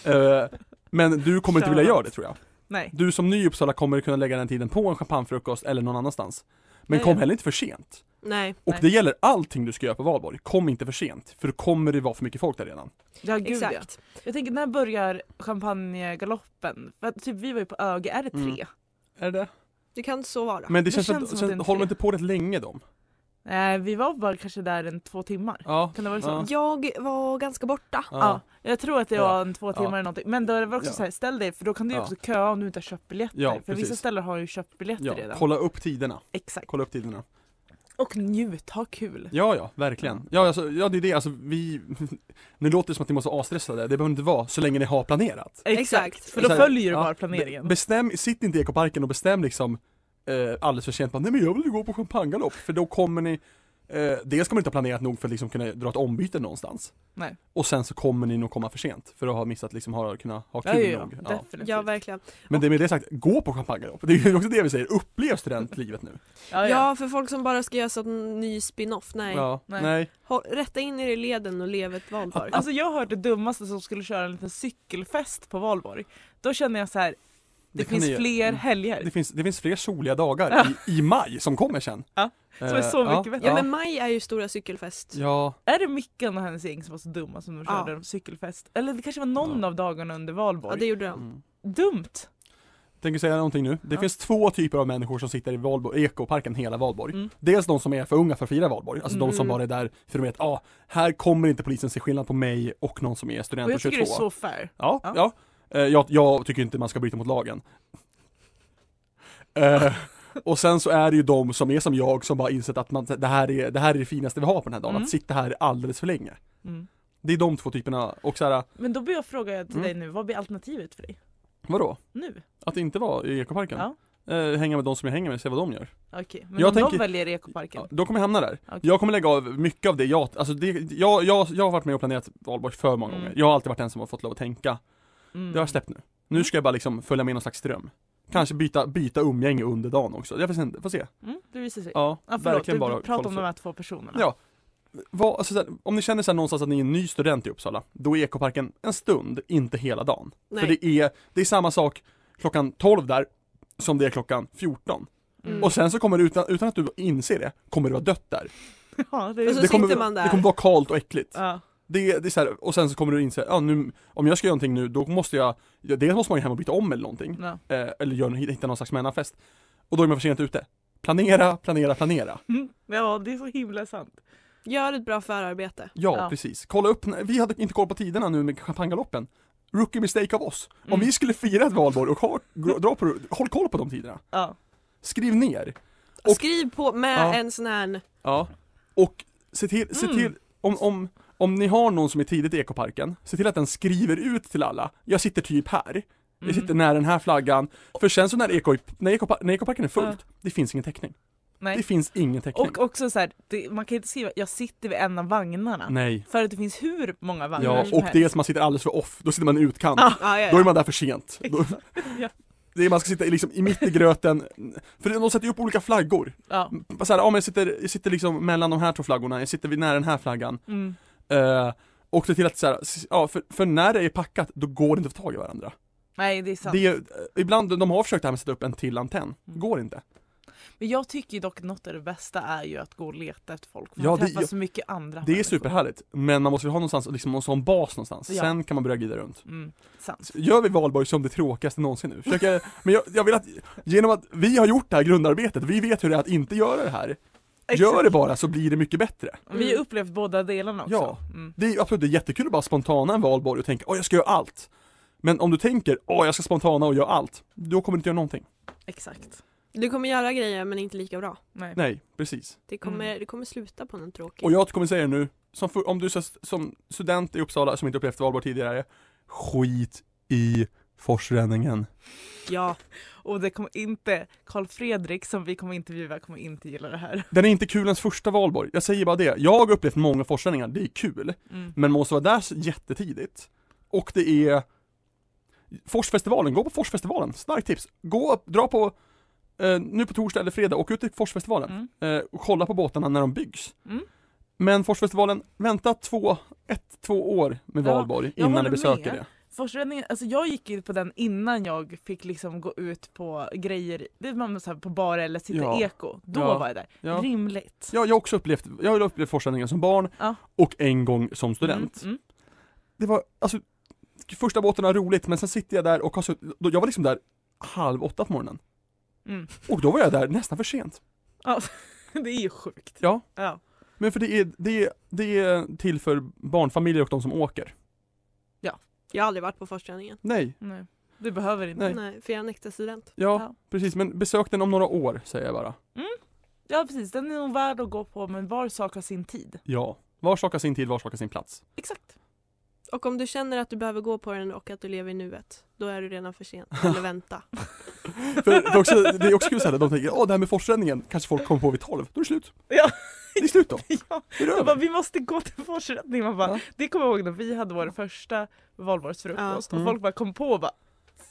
S3: eh, men du kommer inte vilja göra det tror jag.
S4: Nej.
S3: Du som ny i Uppsala kommer kunna lägga den tiden på en champagnefrukost eller någon annanstans. Men
S5: Ja,
S3: kom
S5: ja.
S3: heller inte för sent.
S5: Nej.
S3: Och
S4: Nej.
S3: det gäller allting du ska göra på valborg. Kom inte för sent, för då kommer det vara för mycket folk där redan.
S4: Ja gud ja.
S5: Exakt.
S4: Jag tänker när börjar champagnegaloppen? För att, typ vi var ju på ÖG, är det tre?
S3: Mm. Är det
S5: Det kan så vara.
S3: Men det,
S4: Det
S3: känns,
S4: känns
S3: att,
S4: som att
S3: sen,
S4: det inte
S3: håller de
S4: är.
S3: inte på rätt länge de?
S4: Nej Eh, vi var bara kanske där en två timmar.
S3: Ja.
S4: Kan det vara så?
S3: Mm. Ja.
S5: Jag var ganska borta.
S4: Ja. jag tror att det
S3: Ja.
S4: var en två
S3: Ja.
S4: timmar eller någonting. Men då är det väl också
S3: Ja.
S4: så här, ställ dig för då kan du ju
S3: Ja.
S4: också köa om du inte har köpt biljetter.
S3: Ja,
S4: för vissa
S3: precis.
S4: ställen har ju köpt biljetter
S3: Ja,
S4: redan.
S3: kolla upp tiderna.
S4: Exakt.
S3: Kolla upp tiderna.
S4: Och njut, ha kul.
S3: Ja, ja, verkligen. Ja, alltså, ja det är det, alltså vi... Nu låter det som att ni måste vara asstressade, det behöver inte vara, så länge ni har planerat.
S5: Exakt.
S4: För då
S3: Så här,
S4: följer du
S3: ja,
S4: bara planeringen.
S3: Be- bestäm, sitt inte i ekoparken och bestäm liksom eh, alldeles för sent bara, nej men jag vill ju gå på champagnegalopp, för då kommer ni eh, Dels kommer ni inte ha planerat nog för att liksom kunna dra ett ombyte någonstans.
S4: Nej.
S3: Och sen så kommer ni nog komma för sent, för att ha missat liksom, ha, kunna ha
S4: ja,
S3: kul
S4: ja,
S3: nog.
S4: ja.
S3: Ja.
S4: Definitivt.
S5: Ja, verkligen.
S3: Men det med det sagt, gå på champagnegalopp. Det är ju också det vi säger, upplev studentlivet nu.
S4: ja, ja.
S5: Ja, för folk som bara ska göra sån ny spin-off. Nej.
S3: Ja,
S4: Nej.
S3: nej.
S5: Håll, rätta in er i leden och lev ett valborg.
S4: Alltså jag har hört det dummaste som skulle köra en liten cykelfest på valborg. Då känner jag så här, det,
S3: Det kan
S4: finns
S3: ni-
S4: fler
S3: mm.
S4: helger.
S3: Det finns, det finns fler soliga dagar i, i maj som kommer sen.
S4: Ja,
S3: som
S4: är så mycket bättre.
S5: ja, men maj är ju stora cykelfest.
S3: Ja,
S4: Är det Mickan och hennes gäng som var så dumma som de
S5: Ja.
S4: körde en cykelfest? Eller det kanske var någon av dagarna under valborg.
S5: Ja, det gjorde de.
S3: mm.
S4: Dumt!
S3: tänker säga någonting nu. Det
S4: Ja.
S3: finns två typer av människor som sitter i Valborg, ekoparken hela Valborg.
S4: Mm.
S3: Dels de som är för unga för att fira Valborg, alltså de som
S5: Mm.
S3: bara är där för att de vet, ah, här kommer inte polisen se skillnad på mig och någon som är student
S4: Och
S3: och,
S4: jag
S3: 22.
S4: tycker det är så fair.
S3: Ja, ja.
S4: Ja.
S3: Eh, Jag, jag tycker inte man ska bryta mot lagen. Eh, och sen så är det ju de som är som jag som bara insett att man, det, här är, det här är det finaste vi har på den här dagen,
S4: Mm.
S3: att sitta här alldeles för länge.
S4: Mm.
S3: Det är de två typerna, och så här,
S4: Men då blir jag fråga till
S3: Mm.
S4: dig nu, vad blir alternativet för dig?
S3: vadå?
S4: Nu?
S3: Att inte vara i ekoparken?
S4: Ja.
S3: Eh, hänga med de som jag hänger med, se vad de gör.
S4: Okej, men
S3: Jag
S4: om
S3: tänker-
S4: de väljer ekoparken?
S3: Ja, då kommer jag hamna där.
S4: Okej.
S3: Jag kommer lägga av mycket av det jag, alltså det, jag, jag, jag har varit med och planerat valborg för många
S4: Mm.
S3: gånger. Jag har alltid varit den som har fått lov att tänka.
S4: Mm.
S3: Det har jag släppt nu. Nu ska jag bara liksom följa med någon slags ström. Kanske byta, byta umgänge under dagen också. Jag får se. Får se.
S4: Mm, det visar sig.
S3: Ja,
S4: Ja, förlåt,
S3: verkligen
S4: du
S3: bara
S4: pratar om
S3: kolla
S4: de
S3: så.
S4: här två personerna.
S3: Ja. Vad, alltså, så här, om ni känner så här någonstans att ni är en ny student i Uppsala, då är ekoparken en stund, inte hela dagen.
S5: Nej.
S3: För det är, det är samma sak klockan 12 där, som det är klockan 14.
S4: Mm.
S3: Och sen så kommer det, utan, utan att du inser det, kommer det vara dött där.
S4: ja, det
S5: Och så
S4: är...
S3: det, kommer,
S5: sitter man där.
S3: det kommer vara kallt och äckligt.
S4: ja.
S3: Det, det är så här, och sen så kommer du inse, ja, nu, om jag ska göra någonting nu, då måste jag, ja, dels måste man ju hem och byta om eller någonting.
S4: Ja.
S3: Eh, eller gör, hitta någon slags mellanfest. Och då är man för sent ute. Planera, planera, planera.
S4: Mm. ja, det är så himla sant.
S5: Gör ett bra förarbete.
S3: Ja,
S4: Ja.
S3: precis. Kolla upp, vi hade inte koll på tiderna nu med champagnegaloppen. Rookie mistake av oss. Om
S4: Mm.
S3: vi skulle fira ett valborg och ha, gå- dra på, håll koll på de tiderna.
S4: Ja.
S3: Skriv ner. Och-
S5: Skriv på med
S3: Ja.
S5: en sån här...
S3: Ja. Och se till, se
S4: Mm.
S3: till om, om, om ni har någon som är tidigt i ekoparken, se till att den skriver ut till alla. Jag sitter typ här. Jag
S4: Mm.
S3: sitter nära den här flaggan. För sen så när, eko, när, ekopa, när ekoparken är fullt, det finns ingen täckning. Det
S4: Nej.
S3: finns ingen täckning.
S4: Och också så här, det, man kan inte skriva jag sitter vid en av vagnarna.
S3: Nej.
S4: För att det finns hur många vagnar
S3: Ja,
S4: som
S3: och
S4: helst.
S3: dels man sitter alldeles för off, då sitter man i utkant.
S4: Ja.
S5: Ja, ja,
S3: Ah, Då är
S5: ja.
S3: man där för sent. Då,
S4: Ja.
S3: det är, man ska sitta i liksom i mitt i gröten, för de sätter ju upp olika flaggor.
S4: Ja.
S3: Så här, ja, men jag, sitter, jag sitter liksom mellan de här två flaggorna, jag sitter vid nära den här flaggan.
S4: Mm.
S3: Eh, och se till att så här, s- ja, för, för när det är packat, då går det inte att få tag i varandra.
S4: Nej det är sant.
S3: Det är, eh, ibland, de har försökt det här med att sätta upp en till antenn,
S4: Mm.
S3: går inte.
S4: Men jag tycker ju dock något av det bästa är ju att gå och leta efter folk. För
S3: Ja,
S4: man
S3: det-
S4: träffar
S3: ja.
S4: så mycket andra
S3: Det är
S4: människor.
S3: superhärligt, men man måste ju ha någonstans, liksom någon sån bas någonstans,
S4: Ja.
S3: sen kan man börja glida runt.
S4: Mm, sant.
S3: Gör vi valborg som det tråkigaste någonsin nu? Försöker, men jag, jag vill att, genom att vi har gjort det här grundarbetet, vi vet hur det är att inte göra det här. Gör det bara så blir det mycket bättre.
S4: Vi har upplevt båda delarna också.
S3: Ja.
S4: Mm.
S3: Det är absolut det är jättekul att bara spontana en valborg och tänka åh jag ska göra allt. Men om du tänker åh jag ska spontana och göra allt, då kommer du inte göra någonting.
S4: Exakt.
S5: Du kommer göra grejer men inte lika bra.
S4: Nej.
S3: Nej, precis.
S5: Det kommer, det kommer sluta på någon tråkig.
S3: Mm. Och jag kommer säga det nu, som, för, om du så- som student i Uppsala som inte upplevt valborg tidigare, skit i forsränningen.
S5: Ja.
S4: Och det kommer inte, Karl Fredrik som vi kommer intervjua kommer inte gilla det här.
S3: Den är inte kul ens första valborg, jag säger bara det. Jag har upplevt många forsränningar, det är kul.
S4: Mm.
S3: Men man måste vara där så jättetidigt. Och det är Forsfestivalen, gå på Forsfestivalen, starkt tips. Gå, dra på eh, nu på torsdag eller fredag, åk ut till Forsfestivalen
S4: Mm.
S3: eh, och kolla på båtarna när de byggs.
S4: Mm.
S3: Men Forsfestivalen, vänta två, ett, två år med
S4: Ja,
S3: valborg
S4: jag
S3: innan ni
S4: håller
S3: besöker
S4: med.
S3: det.
S4: Forsränningen, alltså jag gick ju på den innan jag fick liksom gå ut på grejer, det är man så här på bar eller sitta
S3: Ja.
S4: i eko. Då
S3: Ja.
S4: var jag där.
S3: Ja.
S4: Rimligt.
S3: Ja, jag har också upplevt, jag har upplevt Forsränningen som barn
S4: Ja.
S3: och en gång som student.
S4: Mm, mm.
S3: Det var, alltså, första båten var roligt men sen sitter jag där och har sutt- då- jag var liksom där halv åtta på morgonen.
S4: Mm.
S3: Och då var jag där nästan för sent.
S4: Det är ju sjukt.
S3: Ja.
S4: Ja.
S3: Men för det är, det är, det är till för barnfamiljer och de som åker.
S5: Jag har aldrig varit på försträningen.
S3: Nej,
S4: Nej. Du behöver inte.
S3: Nej.
S5: Nej. för jag är en äkta student.
S3: ja,
S4: Ja.
S3: precis men besök den om några år säger jag bara.
S4: Ja precis, den är nog värd att gå på men var sak har sin tid.
S3: Ja, var sak har sin tid, var sak har sin plats.
S4: Exakt.
S5: Och om du känner att du behöver gå på den och att du lever i nuet, då är du redan för sent. Eller vänta.
S3: För det är också, det är också kul såhär, de tänker åh det här med forsränningen, kanske folk kommer på vid tolv, då är det slut.
S4: Ja.
S3: Det är slut då,
S4: ja.
S3: det är
S4: Så bara,
S3: över.
S4: vi måste gå till forsrättning. Man bara,
S3: Ja.
S4: Det kommer jag ihåg när vi hade vår första valborgsfrukost
S3: Ja. Mm.
S4: och folk bara kom på och bara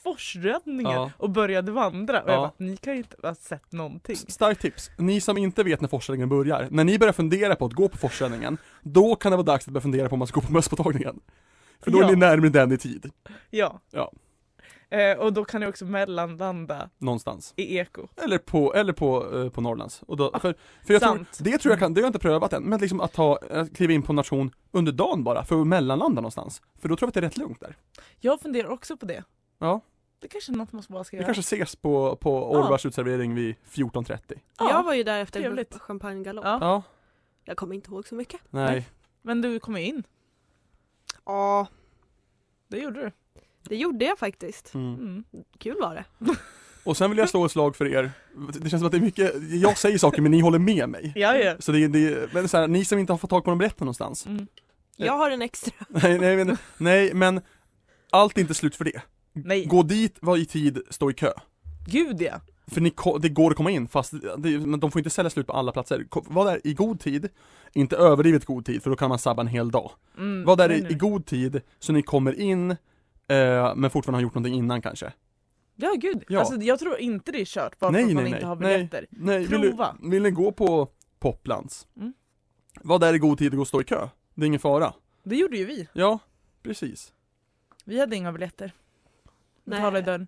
S4: forsräddningen
S3: Ja.
S4: och började vandra och
S3: Ja.
S4: jag bara, ni kan ju inte ha sett någonting.
S3: S- Starkt tips, ni som inte vet när forsränningen börjar, när ni börjar fundera på att gå på forsränningen, då kan det vara dags att börja fundera på om man ska gå på mösspåtagningen. För då är
S4: Ja.
S3: ni närmare den i tid,
S4: Ja.
S3: Ja.
S4: Eh, och då kan ni också mellanlanda
S3: någonstans.
S4: i eko.
S3: Eller på, eller på, eh, på Norrlands. Och då, för, för jag tror,
S4: sant. Mm.
S3: det tror jag kan, det har jag inte prövat än, men liksom att ta, eh, kliva in på nation under dagen bara, för att mellanlanda någonstans. För då tror jag att det är rätt lugnt där.
S4: Jag funderar också på det.
S3: Ja.
S4: Det kanske är något man bara ska
S3: Vi
S4: göra.
S3: kanske ses på,
S4: Ah.
S3: på Orvars utservering vid 14.30.
S4: Ja.
S5: Jag var ju där efter
S4: trevligt.
S5: en champagnegalopp.
S4: Ja.
S3: Ja,
S5: Jag kommer inte ihåg så mycket.
S3: nej.
S4: Men du kom ju in,
S5: Ja,
S4: det gjorde du.
S5: det gjorde jag faktiskt.
S3: Mm.
S4: Mm.
S5: Kul var det.
S3: Och sen vill jag slå ett slag för er, det känns som att det är mycket, jag säger saker men ni håller med mig.
S4: Ja, ja.
S3: Så det, är- det är- men så här, ni som inte har fått tag på de rätta någonstans.
S4: Mm.
S5: Jag har en extra.
S3: Nej, nej, men, nej, men allt är inte slut för det.
S4: Nej,
S3: Gå dit, var i tid, stå i kö.
S4: gud ja.
S3: För ni, ko- det går att komma in fast det, men de får inte sälja slut på alla platser. Ko- Var där i god tid, inte överdrivet god tid för då kan man sabba en hel dag.
S4: Mm.
S3: Var där
S4: nej,
S3: i,
S4: nej,
S3: i
S4: nej.
S3: god tid så ni kommer in eh, men fortfarande har gjort någonting innan kanske.
S4: Ja gud,
S3: Ja.
S4: Alltså, jag tror inte det är kört bara
S3: Nej,
S4: för att man
S3: nej,
S4: inte
S3: nej.
S4: har
S3: Nej.
S4: biljetter.
S3: Nej,
S4: Prova.
S3: Vill, ni- vill ni gå på Poplands?
S4: Mm.
S3: Var där i god tid och gå och stå i kö. Det är ingen fara.
S4: Det gjorde ju vi.
S3: Ja, precis.
S4: Vi hade inga biljetter. Vi betalade i dörren.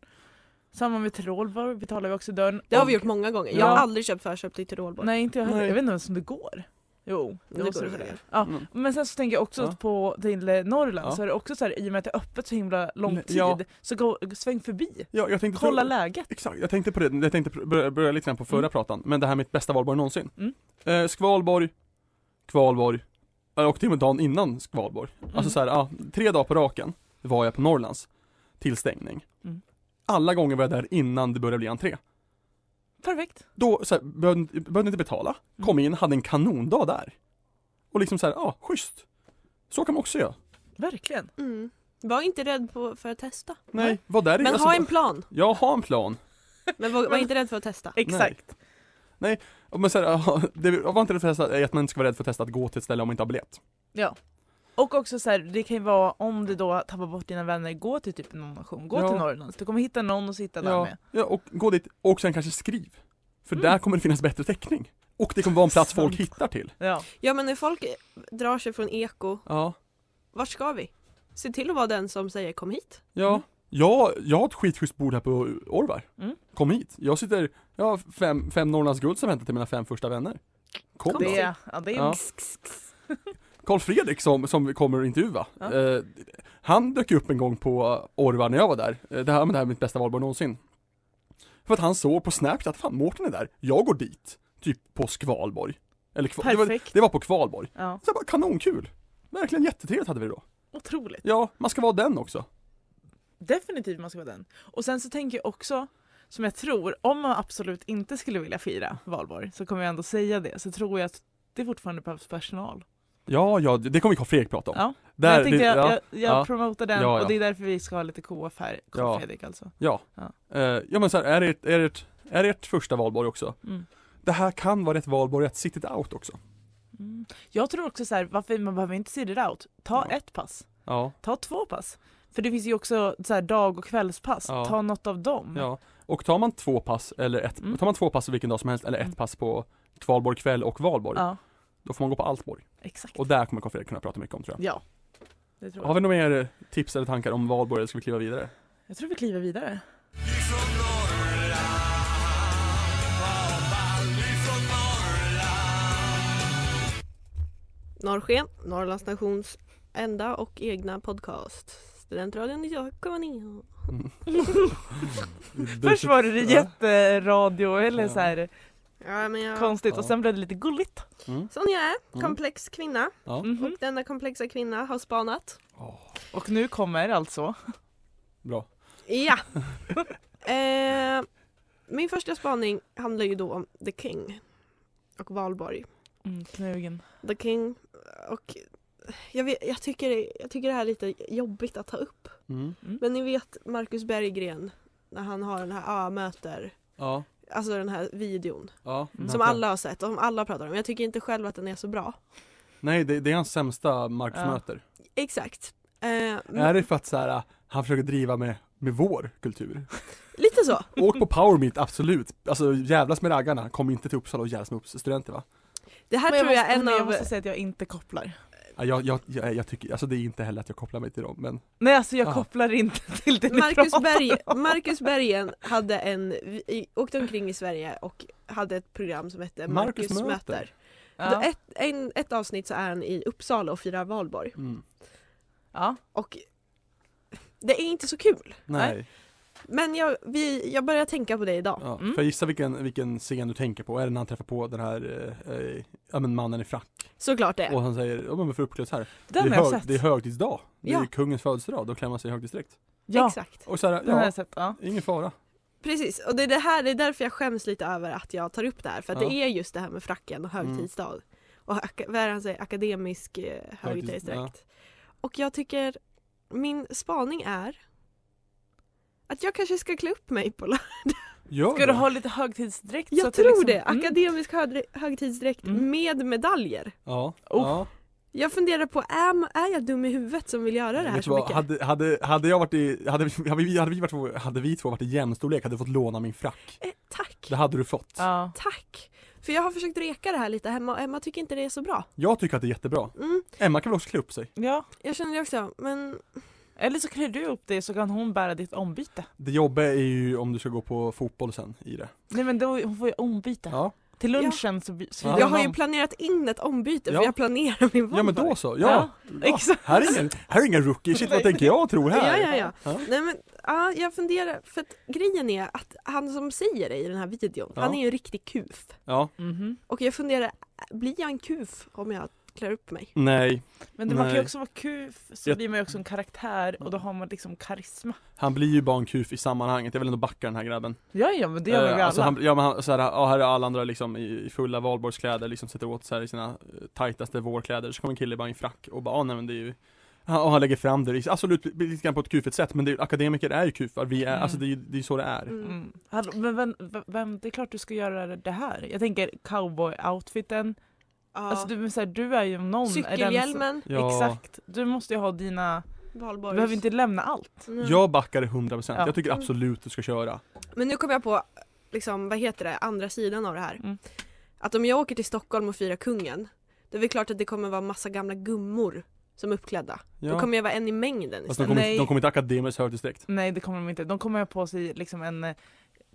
S4: Samma med Tirolborg betalade vi också i dörren.
S5: Det har
S4: Och-
S5: vi gjort många gånger.
S4: Ja.
S5: Jag har aldrig köpt förköpt i Tirolborg.
S4: Nej inte jag heller.
S3: Nej.
S4: Jag vet inte ens om det går. Jo, det,
S5: Det
S4: måste
S5: går
S4: det väl
S5: säkert.
S4: göra. Ja.
S3: Mm.
S4: Men sen så tänker jag också
S3: Ja.
S4: på till eh, Norrland
S3: Ja.
S4: så är det också så här, i och med att det är öppet så himla lång
S3: Nej,
S4: tid,
S3: ja. Alltså,
S4: så gå, sväng förbi.
S3: Ja, jag tänkte
S4: Kolla
S3: prov-
S4: läget.
S3: Exakt, jag tänkte på det, jag tänkte pr- börja, börja lite grann på förra
S4: Mm.
S3: pratan, men det här med ett bästa valborg någonsin.
S4: Mm.
S3: Eh, Skvalborg, Kvalborg, eh, och till och med dagen innan Skvalborg. Alltså
S4: Mm.
S3: så här, ja, tre dagar på raken var jag på Norrlands till stängning.
S4: Mm.
S3: Alla gånger var jag där innan det började bli entré.
S4: Mm. Perfekt.
S3: Då så här, behövde, behövde inte betala, kom in, hade en kanondag där. Och liksom så här, ja, schysst. Så kan man också göra.
S4: Verkligen.
S5: Mm. Var inte rädd på, för att testa.
S3: Nej, var där i-
S5: Men
S3: alltså,
S5: ha en plan.
S3: Ja, ha en plan.
S5: Men var, var inte rädd för att testa.
S4: Exakt.
S3: Och Men så här, ja, det jag var inte rädd för att testa, är att man inte ska vara rädd för att testa att gå till ett ställe om man inte har biljett.
S4: Ja. Och också så här, det kan ju vara om du då tappar bort dina vänner, gå till typ någon nation, gå
S3: Ja.
S4: till Norrland. Du kommer hitta någon att sitta där
S3: Ja,
S4: med.
S3: ja, och gå dit och sen kanske skriv. För
S4: Mm.
S3: där kommer det finnas bättre täckning. Och det kommer vara en plats folk
S4: Sant.
S3: hittar till.
S4: Ja.
S5: Ja men när folk drar sig från eko,
S3: Ja.
S5: vart ska vi? Se till att vara den som säger kom hit.
S3: Ja.
S4: Mm.
S3: Jag, jag har ett skitschysst bord här på Orvar.
S4: Mm.
S3: Kom hit. Jag sitter, jag har fem, fem Norrlands guld som väntar till mina fem första vänner. Kom då.
S4: Det, ja, det är
S3: Ja. Carl Fredrik som, som kommer att intervjua.
S4: Ja.
S3: Eh, han dök upp en gång på Orvar när jag var där. Eh, det här med det här med mitt bästa valborg någonsin. För att han såg på Snapchat, fan Mårten är där. Jag går dit. Typ på Skvalborg. Eller kva- det, var,
S4: Perfekt.
S3: det var på Kvalborg.
S4: Ja.
S3: Så jag bara, kanonkul! Verkligen jättetrevligt hade vi det då.
S4: Otroligt.
S3: Ja, man ska vara den också.
S4: Definitivt man ska vara den. Och sen så tänker jag också, som jag tror, om man absolut inte skulle vilja fira valborg så kommer jag ändå säga det, så tror jag att det fortfarande behövs personal.
S3: Ja, ja, det det kommer Carl Fredrik prata om.
S4: Ja.
S3: Där,
S4: jag tänkte
S3: det-
S4: jag,
S3: ja,
S4: jag, jag
S3: ja.
S4: promotar den
S3: Ja, ja.
S4: och det är därför vi ska ha lite KF här, KF
S3: Ja.
S4: Fredrik alltså.
S3: ja. Ja. ja men så här, är det, ert- är, det, ert- är det ert första valborg också?
S4: Mm.
S3: Det här kan vara ett valborg att sit it out också.
S4: Mm. Jag tror också så här, varför man behöver inte se det out. Ta
S3: Ja.
S4: ett pass,
S3: Ja,
S4: ta två pass. För det finns ju också så här, dag och kvällspass,
S3: Ja.
S4: ta något av dem.
S3: ja. Och tar man två pass eller ett,
S4: Mm.
S3: tar man två pass vilken dag som helst eller ett
S4: Mm.
S3: pass på kvalborg kväll och valborg,
S4: Ja,
S3: då får man gå på Altborg.
S4: exakt.
S3: Och där kommer Carl-Fredrik kunna prata mycket om tror jag.
S4: Ja, det tror
S3: Har
S4: jag.
S3: vi några mer eh, tips eller tankar om valborg eller ska vi kliva vidare?
S4: Jag tror vi kliver vidare.
S2: Ifrån Norrland, vad ball, ifrån Norrland
S5: Norrsken, Norrlands nations enda och egna podcast. Studentradion 98,9.
S3: Mm.
S4: Först var det jätteradio eller
S3: Ja.
S4: så här
S5: Ja, men jag...
S4: konstigt och
S3: Ja.
S4: sen blev det lite gulligt.
S3: Mm.
S5: Sån jag är,
S3: Mm.
S5: komplex kvinna.
S3: Ja.
S4: Mhm.
S5: Denna komplexa kvinna har spanat.
S4: Och nu kommer alltså
S3: Bra.
S5: Ja! eh, min första spaning handlar ju då om The King och valborg.
S4: mm, knugen.
S5: The King och jag, vet, jag, tycker, det- jag tycker det här är lite jobbigt att ta upp.
S3: Mm.
S5: Men ni vet Marcus Berggren när han har den här A-möter,
S3: Ja.
S5: alltså den här videon
S3: Ja.
S4: Mm.
S5: som alla har sett och som alla pratar om. Jag tycker inte själv att den är så bra.
S3: Nej, det, det är hans sämsta Marcus-möter.
S5: Exakt. Eh,
S4: Mm.
S3: Är det för att så här, äh, han försöker driva med, med vår kultur?
S5: Lite så.
S3: Åk på Power Meet, absolut. Alltså jävlas med raggarna, kom inte till Uppsala och jävlas med upps- studenter va?
S5: Det här
S4: Men
S5: tror jag
S4: måste-
S5: är en
S4: men jag
S5: av...
S4: måste säga att jag inte kopplar.
S3: Ja, Jag, jag, jag, jag tycker, alltså det är inte heller att jag kopplar mig till dem men
S4: Nej alltså jag
S3: Ja.
S4: kopplar inte till det ni
S5: Marcus,
S4: pratar
S5: Berg,
S4: om.
S5: Marcus Bergen hade en, vi- åkte omkring i Sverige och hade ett program som
S4: Eh,
S5: hette Marcus,
S3: Marcus
S5: möter.
S3: möter.
S5: Då
S4: Ja.
S5: Ett, en, ett avsnitt så är han i Uppsala och firar valborg.
S3: mm.
S4: Ja.
S5: Och det är inte så kul.
S3: Nej,
S5: Men jag, vi, jag börjar tänka på det idag.
S3: Ja.
S4: Mm.
S3: Får jag gissa vilken, vilken scen du tänker på? Är det när han träffar på den här eh, eh, ja, men mannen i frack?
S5: Såklart det.
S3: Och han säger, ja men varför uppkläds här?
S4: Den
S3: det,
S4: har
S3: är
S4: jag
S3: hög-
S4: sett.
S3: det är högtidsdag, det
S5: Ja.
S3: är kungens födelsedag, då klär man sig i högtidsdräkt
S4: ja,
S5: Exakt.
S3: Och så här,
S4: den har
S3: ja,
S4: jag sett. Ja.
S3: ingen fara
S5: Precis, och det är, det, här, det är därför jag skäms lite över att jag tar upp det här. För att
S3: Ja.
S5: det är just det här med fracken och högtidsdag. Och ak- vad är det han säger? Akademisk eh, högtidsdräkt. Och jag tycker, min spaning är att jag kanske ska klä upp mig på lördag.
S3: Gör
S4: Ska
S3: det.
S4: du ha lite högtidsdräkt? så
S5: Jag
S4: att
S5: tror det!
S4: liksom- Mm.
S5: Akademisk högre- högtidsdräkt
S4: Mm.
S5: med medaljer.
S3: Ja,
S4: Oh.
S3: ja.
S5: Jag funderar på, är, är jag dum i huvudet som vill göra det
S3: Vet
S5: här
S3: du
S5: så
S3: vad,
S5: mycket?
S3: hade, hade, hade jag varit i, hade, vi- hade, vi, hade, vi varit, hade vi två varit i jämnstorlek hade du fått låna min frack
S5: Eh, tack!
S3: Det hade du fått
S4: Mm. Ja.
S5: Tack! För jag har försökt reka det här lite hemma och Emma tycker inte det är så bra.
S3: Jag tycker att det är jättebra
S5: Mm,
S3: Emma kan väl också klä upp sig?
S4: ja.
S5: jag känner det också, men
S4: Eller så klär du upp dig så kan hon bära ditt ombyte.
S3: Det jobbiga är ju om du ska gå på fotboll sen i det
S4: Nej men då, hon får ju ombyte.
S3: Ja,
S4: Till lunchen så by- så
S3: Ja.
S4: byter
S5: jag
S4: hon
S5: har ju
S4: om.
S5: planerat in ett ombyte för
S3: Ja.
S5: jag planerar min valborg.
S3: ja men då så, ja! ja.
S4: Exakt.
S3: Här är ingen, här är ingen rookie, shit vad tänker jag och tror
S5: Ja,
S3: här?
S5: ja, ja.
S3: Ja.
S5: Nej, men, ja, jag funderar, för att grejen är att han som säger det i den här videon,
S3: Ja.
S5: han är ju en riktig kuf.
S3: Ja.
S4: Mhm.
S5: Och jag funderar, blir jag en kuf om jag klär upp mig?
S3: Nej,
S4: Men det, man kan ju
S3: Nej.
S4: också vara kuf, så
S3: Jag-
S4: blir man ju också en karaktär och då
S3: Ja.
S4: har man liksom karisma.
S3: han blir ju bara en kuf i sammanhanget, jag vill ändå backa den här grabben
S4: Ja ja men det gör man
S3: Eh,
S4: ju
S3: alltså
S4: alla.
S3: han, ja men han, så här, ja, här är alla andra liksom i, i fulla valborgskläder liksom sätter åt sig i sina eh, tajtaste vårkläder så kommer en kille bara i en frack och bara ah, nej men det är ju han, och han lägger fram det, liksom. absolut lite grann på ett kufigt sätt men det, är- akademiker är ju kufar, vi är,
S4: Mm.
S3: alltså det är ju det är så det är
S5: Mm.
S4: Mm. Hallå, men vem, vem- vem, det är klart du ska göra det här. Jag tänker cowboy-outfiten.
S5: Ja.
S4: Alltså du, men så här, du är ju om någon. är den som-
S5: Cykelhjälmen,
S3: ja,
S4: Exakt. Du måste ju ha dina, du
S5: valborgs.
S4: behöver inte lämna allt.
S5: Mm.
S3: Jag backar det 100%,
S4: Ja.
S3: jag tycker absolut du ska köra
S5: Men nu kom jag på, liksom, vad heter det, andra sidan av det här.
S4: Mm.
S5: Att om jag åker till Stockholm och firar kungen, då är det klart att det kommer vara massa gamla gummor som är uppklädda. Då
S3: ja.
S5: kommer jag vara en i mängden
S3: Fast de
S5: istället.
S3: kommer,
S4: Nej.
S3: inte- de kommer inte akademiskt högtidsdräkt
S4: Nej det kommer de inte, de kommer ha på sig liksom en eh,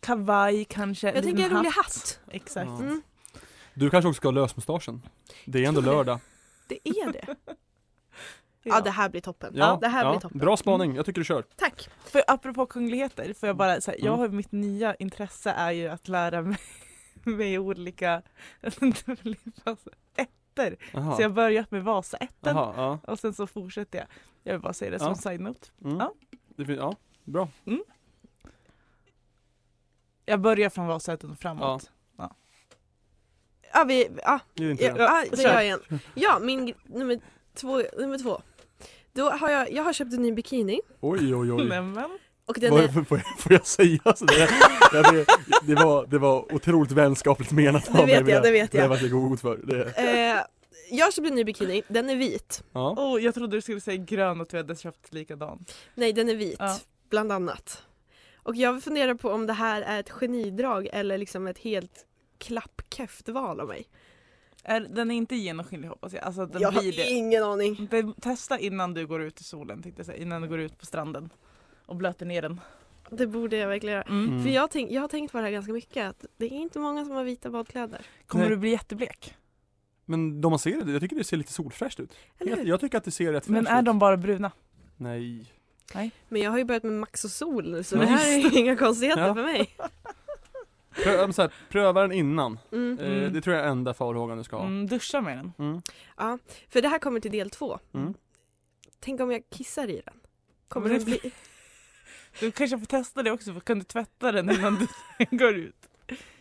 S4: kavaj kanske,
S5: Jag tänker en rolig hatt.
S4: Exakt.
S3: Ja.
S5: Mm,
S3: Du kanske också ska ha lösmustaschen? Det är ändå
S5: tror det.
S3: lördag
S5: det är det.
S4: Ja.
S5: Ja det här blir toppen. Ja, det här blir toppen. Mm.
S3: Bra spaning, jag tycker du kör
S5: Tack!
S4: För apropå kungligheter, får jag bara säga, jag
S3: Mm.
S4: har ju- mitt nya intresse är ju att lära mig, mig olika ettor.
S3: Aha.
S4: Så jag har börjat med Vasaätten
S3: Aha, ja.
S4: och sen så fortsätter jag. Jag vill bara säga det
S3: Ja.
S4: som side-note.
S3: Mm.
S4: Ja.
S3: Det fin- ja, bra.
S4: Jag börjar från Vasaätten och framåt.
S5: Ja, vi, ja,
S3: Det är inte
S5: ja,
S3: det.
S5: ja, det
S4: kör.
S5: gör jag igen. Ja, min gr- nummer två, nummer två. Då har jag, jag har köpt en ny bikini
S3: Oj oj oj.
S4: Nämen.
S5: och den
S3: Vad-
S5: är,
S3: får, får, jag- får jag säga sådär? Ja, det, det, var, det var otroligt vänskapligt menat av
S5: det vet
S3: men
S5: jag, det vet
S3: Det
S5: jag.
S3: vart jag god för. Det,
S5: Eh, jag har köpt en ny bikini, den är vit.
S3: ja.
S4: Oh, jag trodde du skulle säga grön och att vi hade köpt likadan.
S5: Nej, den är vit,
S4: Ja.
S5: bland annat. Och jag funderar på om det här är ett genidrag eller liksom ett helt klappkäft val av mig.
S4: Är, den är inte genomskinlig hoppas jag. Alltså, den
S5: jag
S4: blir
S5: har
S4: det.
S5: ingen aning.
S4: Den- Testa innan du går ut i solen tänkte jag säga. Innan du går ut på stranden. Och blöter ner den.
S5: Det borde jag verkligen göra.
S4: Mm.
S3: Mm.
S5: För jag, tänk, jag har tänkt på det här ganska mycket, att det är inte många som har vita badkläder.
S4: Kommer
S3: Nej.
S4: du bli jätteblek?
S3: Men de man ser det, jag tycker det ser lite solfräscht ut.
S5: Eller hur?
S3: Jag, jag tycker att det ser rätt
S4: Men
S3: fräscht
S4: är
S3: ut.
S4: de bara bruna?
S3: Nej.
S5: Men jag har ju börjat med Max och sol nu, så
S3: Ja,
S5: det här är inga konstigheter
S3: Ja.
S5: för mig.
S3: Prö, men så här, pröva den innan.
S5: Mm.
S3: Eh,
S4: Mm.
S3: det tror jag är enda farhågan du ska ha. Mm.
S4: Mm, duscha med den.
S5: Ja. För det här kommer till del två.
S3: Mm.
S5: Tänk om jag kissar i den? Kommer
S4: Men
S5: den
S4: det-
S5: bli...
S4: Du kanske får testa det också. För kan du tvätta den innan du går ut?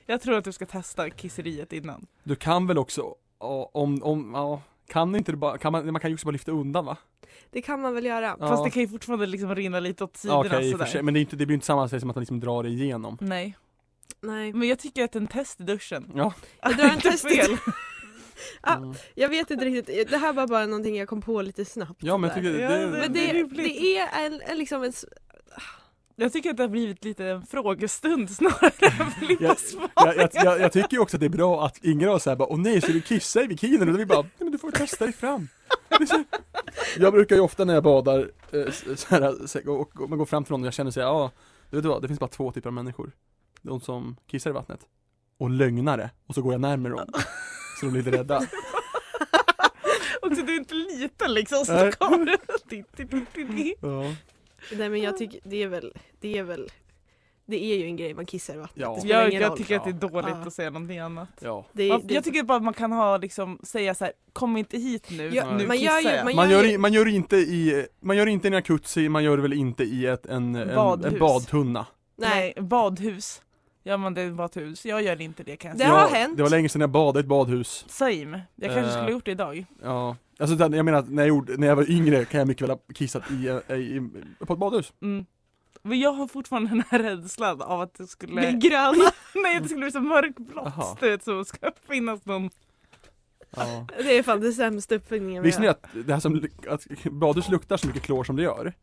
S4: Jag tror att du ska testa kisseriet innan.
S3: Du kan väl också, ja, om, om, ja, kan inte du bara, kan man, man kan ju också bara lyfta undan va?
S5: Det kan man väl göra.
S3: Ja.
S4: Fast det kan ju fortfarande liksom rinna lite åt sidorna
S3: Ja, okej, i och för
S4: sådär.
S3: sig, men det, är inte, det blir inte samma sak som att man liksom drar det igenom.
S4: Nej,
S5: Nej.
S3: Mm.
S4: men jag tycker att en test i duschen.
S3: Ja,
S5: Jag drar en
S4: Inte
S5: test i
S4: fel.
S5: Ja.
S3: mm.
S5: Jag vet inte riktigt, det här var bara någonting jag kom på lite snabbt.
S3: ja men jag
S5: där.
S3: tycker
S4: Ja,
S3: det,
S5: Men
S3: det,
S4: Det
S5: det,
S4: är rimligt.
S5: det är en, en, liksom en... s-
S4: Jag tycker att det har blivit lite en frågestund snarare än flippa
S3: Jag-
S4: svar.
S3: jag, jag, jag, jag tycker ju också att det är bra att ingen av oss såhär bara, åh nej, ska du kissa i bikinin? Utan vi bara, nej men du får testa dig fram. Det är så- Jag brukar ju ofta när jag badar, eh, s- så här, så- och, och, och man går fram till någon och jag känner såhär, ja, du vet vad, det finns bara två typer av människor. De som kissar i vattnet, och lögnare, och så går jag närmare dem. Så de blir lite rädda.
S4: Och så du är inte liten liksom så
S3: Nej.
S4: kommer du Titt, titt, titt, titt.
S3: Ja.
S5: Nej men jag tycker, det är väl, det är väl, det är ju en grej man kissar i vattnet.
S3: Ja.
S5: Det spelar
S4: jag,
S5: ingen
S4: jag
S5: roll.
S4: tycker att det är dåligt
S5: Ja.
S4: att säga någonting annat.
S3: ja.
S5: Det,
S4: Man-
S5: det,
S4: Jag tycker bara att man kan ha liksom, säga så här, kom inte hit nu,
S5: Ja,
S4: nu
S5: man gör
S4: kissar
S5: ju-
S4: jag.
S5: man
S3: Man
S5: gör
S3: gör,
S5: ju-
S3: i- man gör inte i, man gör inte i en jacuzzi, man gör det väl inte i ett, en, en,
S4: Badhus.
S3: en badtunna.
S5: nej.
S4: Nej, badhus. Gör man det i badhus? Jag gör inte det kan jag
S5: Det
S4: säga.
S5: har
S3: Ja,
S5: hänt.
S3: Det var länge sedan jag badade i ett badhus.
S4: Same. Jag kanske
S3: Eh.
S4: skulle ha gjort det idag.
S3: Ja, alltså utan jag menar att när jag, gjorde, när jag var yngre kan jag mycket väl ha kissat i, eh, i, i, på ett badhus.
S4: Mm. Men jag har fortfarande den här rädslan av att det skulle...
S5: Bli gröna.
S4: Nej det skulle bli så mörkblått
S3: Jaha.
S4: du vet så ska finnas någon
S3: Ja.
S5: Det är fan det sämsta uppfinningen vi
S3: Visste ni
S5: har.
S3: att det här som, luk- att badhus luktar så mycket klor som det gör?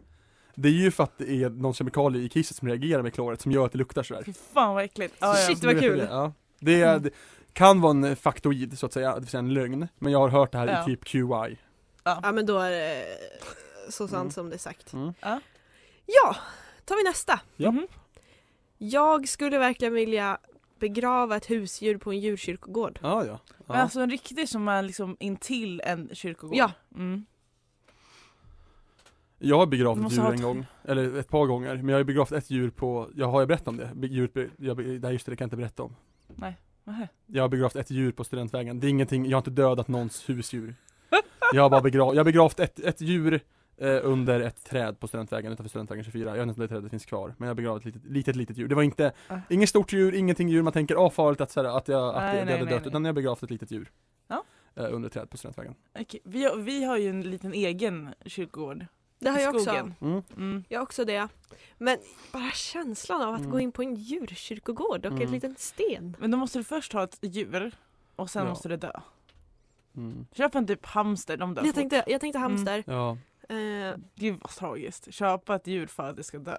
S3: Det är ju för att det är någon kemikalie i kisset som reagerar med kloret som gör att det luktar sådär.
S4: Fy fan vad äckligt. Ah, ja.
S5: Shit,
S3: Så
S5: vad
S3: ni vet ju
S5: kul.
S3: Det, ja. det, är, det kan vara en faktoid så att säga, det vill säga en lögn. Men jag har hört det här
S4: Ja.
S3: i typ QI.
S5: Ja men då är det så sant
S3: Mm.
S5: som det är sagt.
S3: Mm.
S4: Ja.
S5: Ja, tar vi nästa.
S3: Ja.
S4: Mhm.
S5: Jag skulle verkligen vilja begrava ett husdjur på en djurkyrkogård.
S3: Ja, ja.
S4: Men
S3: ja.
S4: alltså en riktig som är liksom intill en kyrkogård.
S5: Ja.
S4: Mm.
S3: Jag har
S4: Du
S3: begravt
S4: måste
S3: djur
S4: ha ett-
S3: en gång, eller ett par gånger, men jag har ju begravt ett djur på, jag har jag berättat om det? Be- Djuret, be- jag, be- nej just det, det kan jag inte berätta om.
S4: Nähä.
S3: Jag har begravt ett djur på Studentvägen. Det är ingenting, jag har inte dödat någons husdjur. Jag har bara begravt, jag har begravt ett, ett djur eh, under ett träd på Studentvägen utanför Studentvägen 24. Jag vet inte om det trädet finns kvar, men jag har begravt ett litet, litet, litet djur. Det var inte,
S4: Ah.
S3: inget stort djur, ingenting djur man tänker, ah farligt att, så här, att jag, att
S4: Nej,
S3: det- det
S4: nej,
S3: hade
S4: nej,
S3: dött,
S4: nej.
S3: utan jag har begravt ett litet djur.
S4: Ja.
S3: Eh, under ett träd på Studentvägen.
S4: Okej, Vi, har, vi har ju en liten egen kyrkogård
S5: Det har
S4: i
S5: jag också.
S4: skogen.
S3: Mm.
S4: Mm.
S5: Jag har också det. Men bara känslan av att
S3: Mm.
S5: gå in på en djurkyrkogård och en
S3: Mm.
S5: liten sten.
S4: Men då måste du först ha ett djur och sen
S3: Ja.
S4: måste det dö.
S3: Mm.
S4: Köp en typ hamster, de dör
S5: Jag
S4: fort. Mm.
S5: tänkte, jag tänkte hamster.
S3: Ja.
S5: Eh,
S4: Gud vad tragiskt. Köpa ett djur för att det ska dö.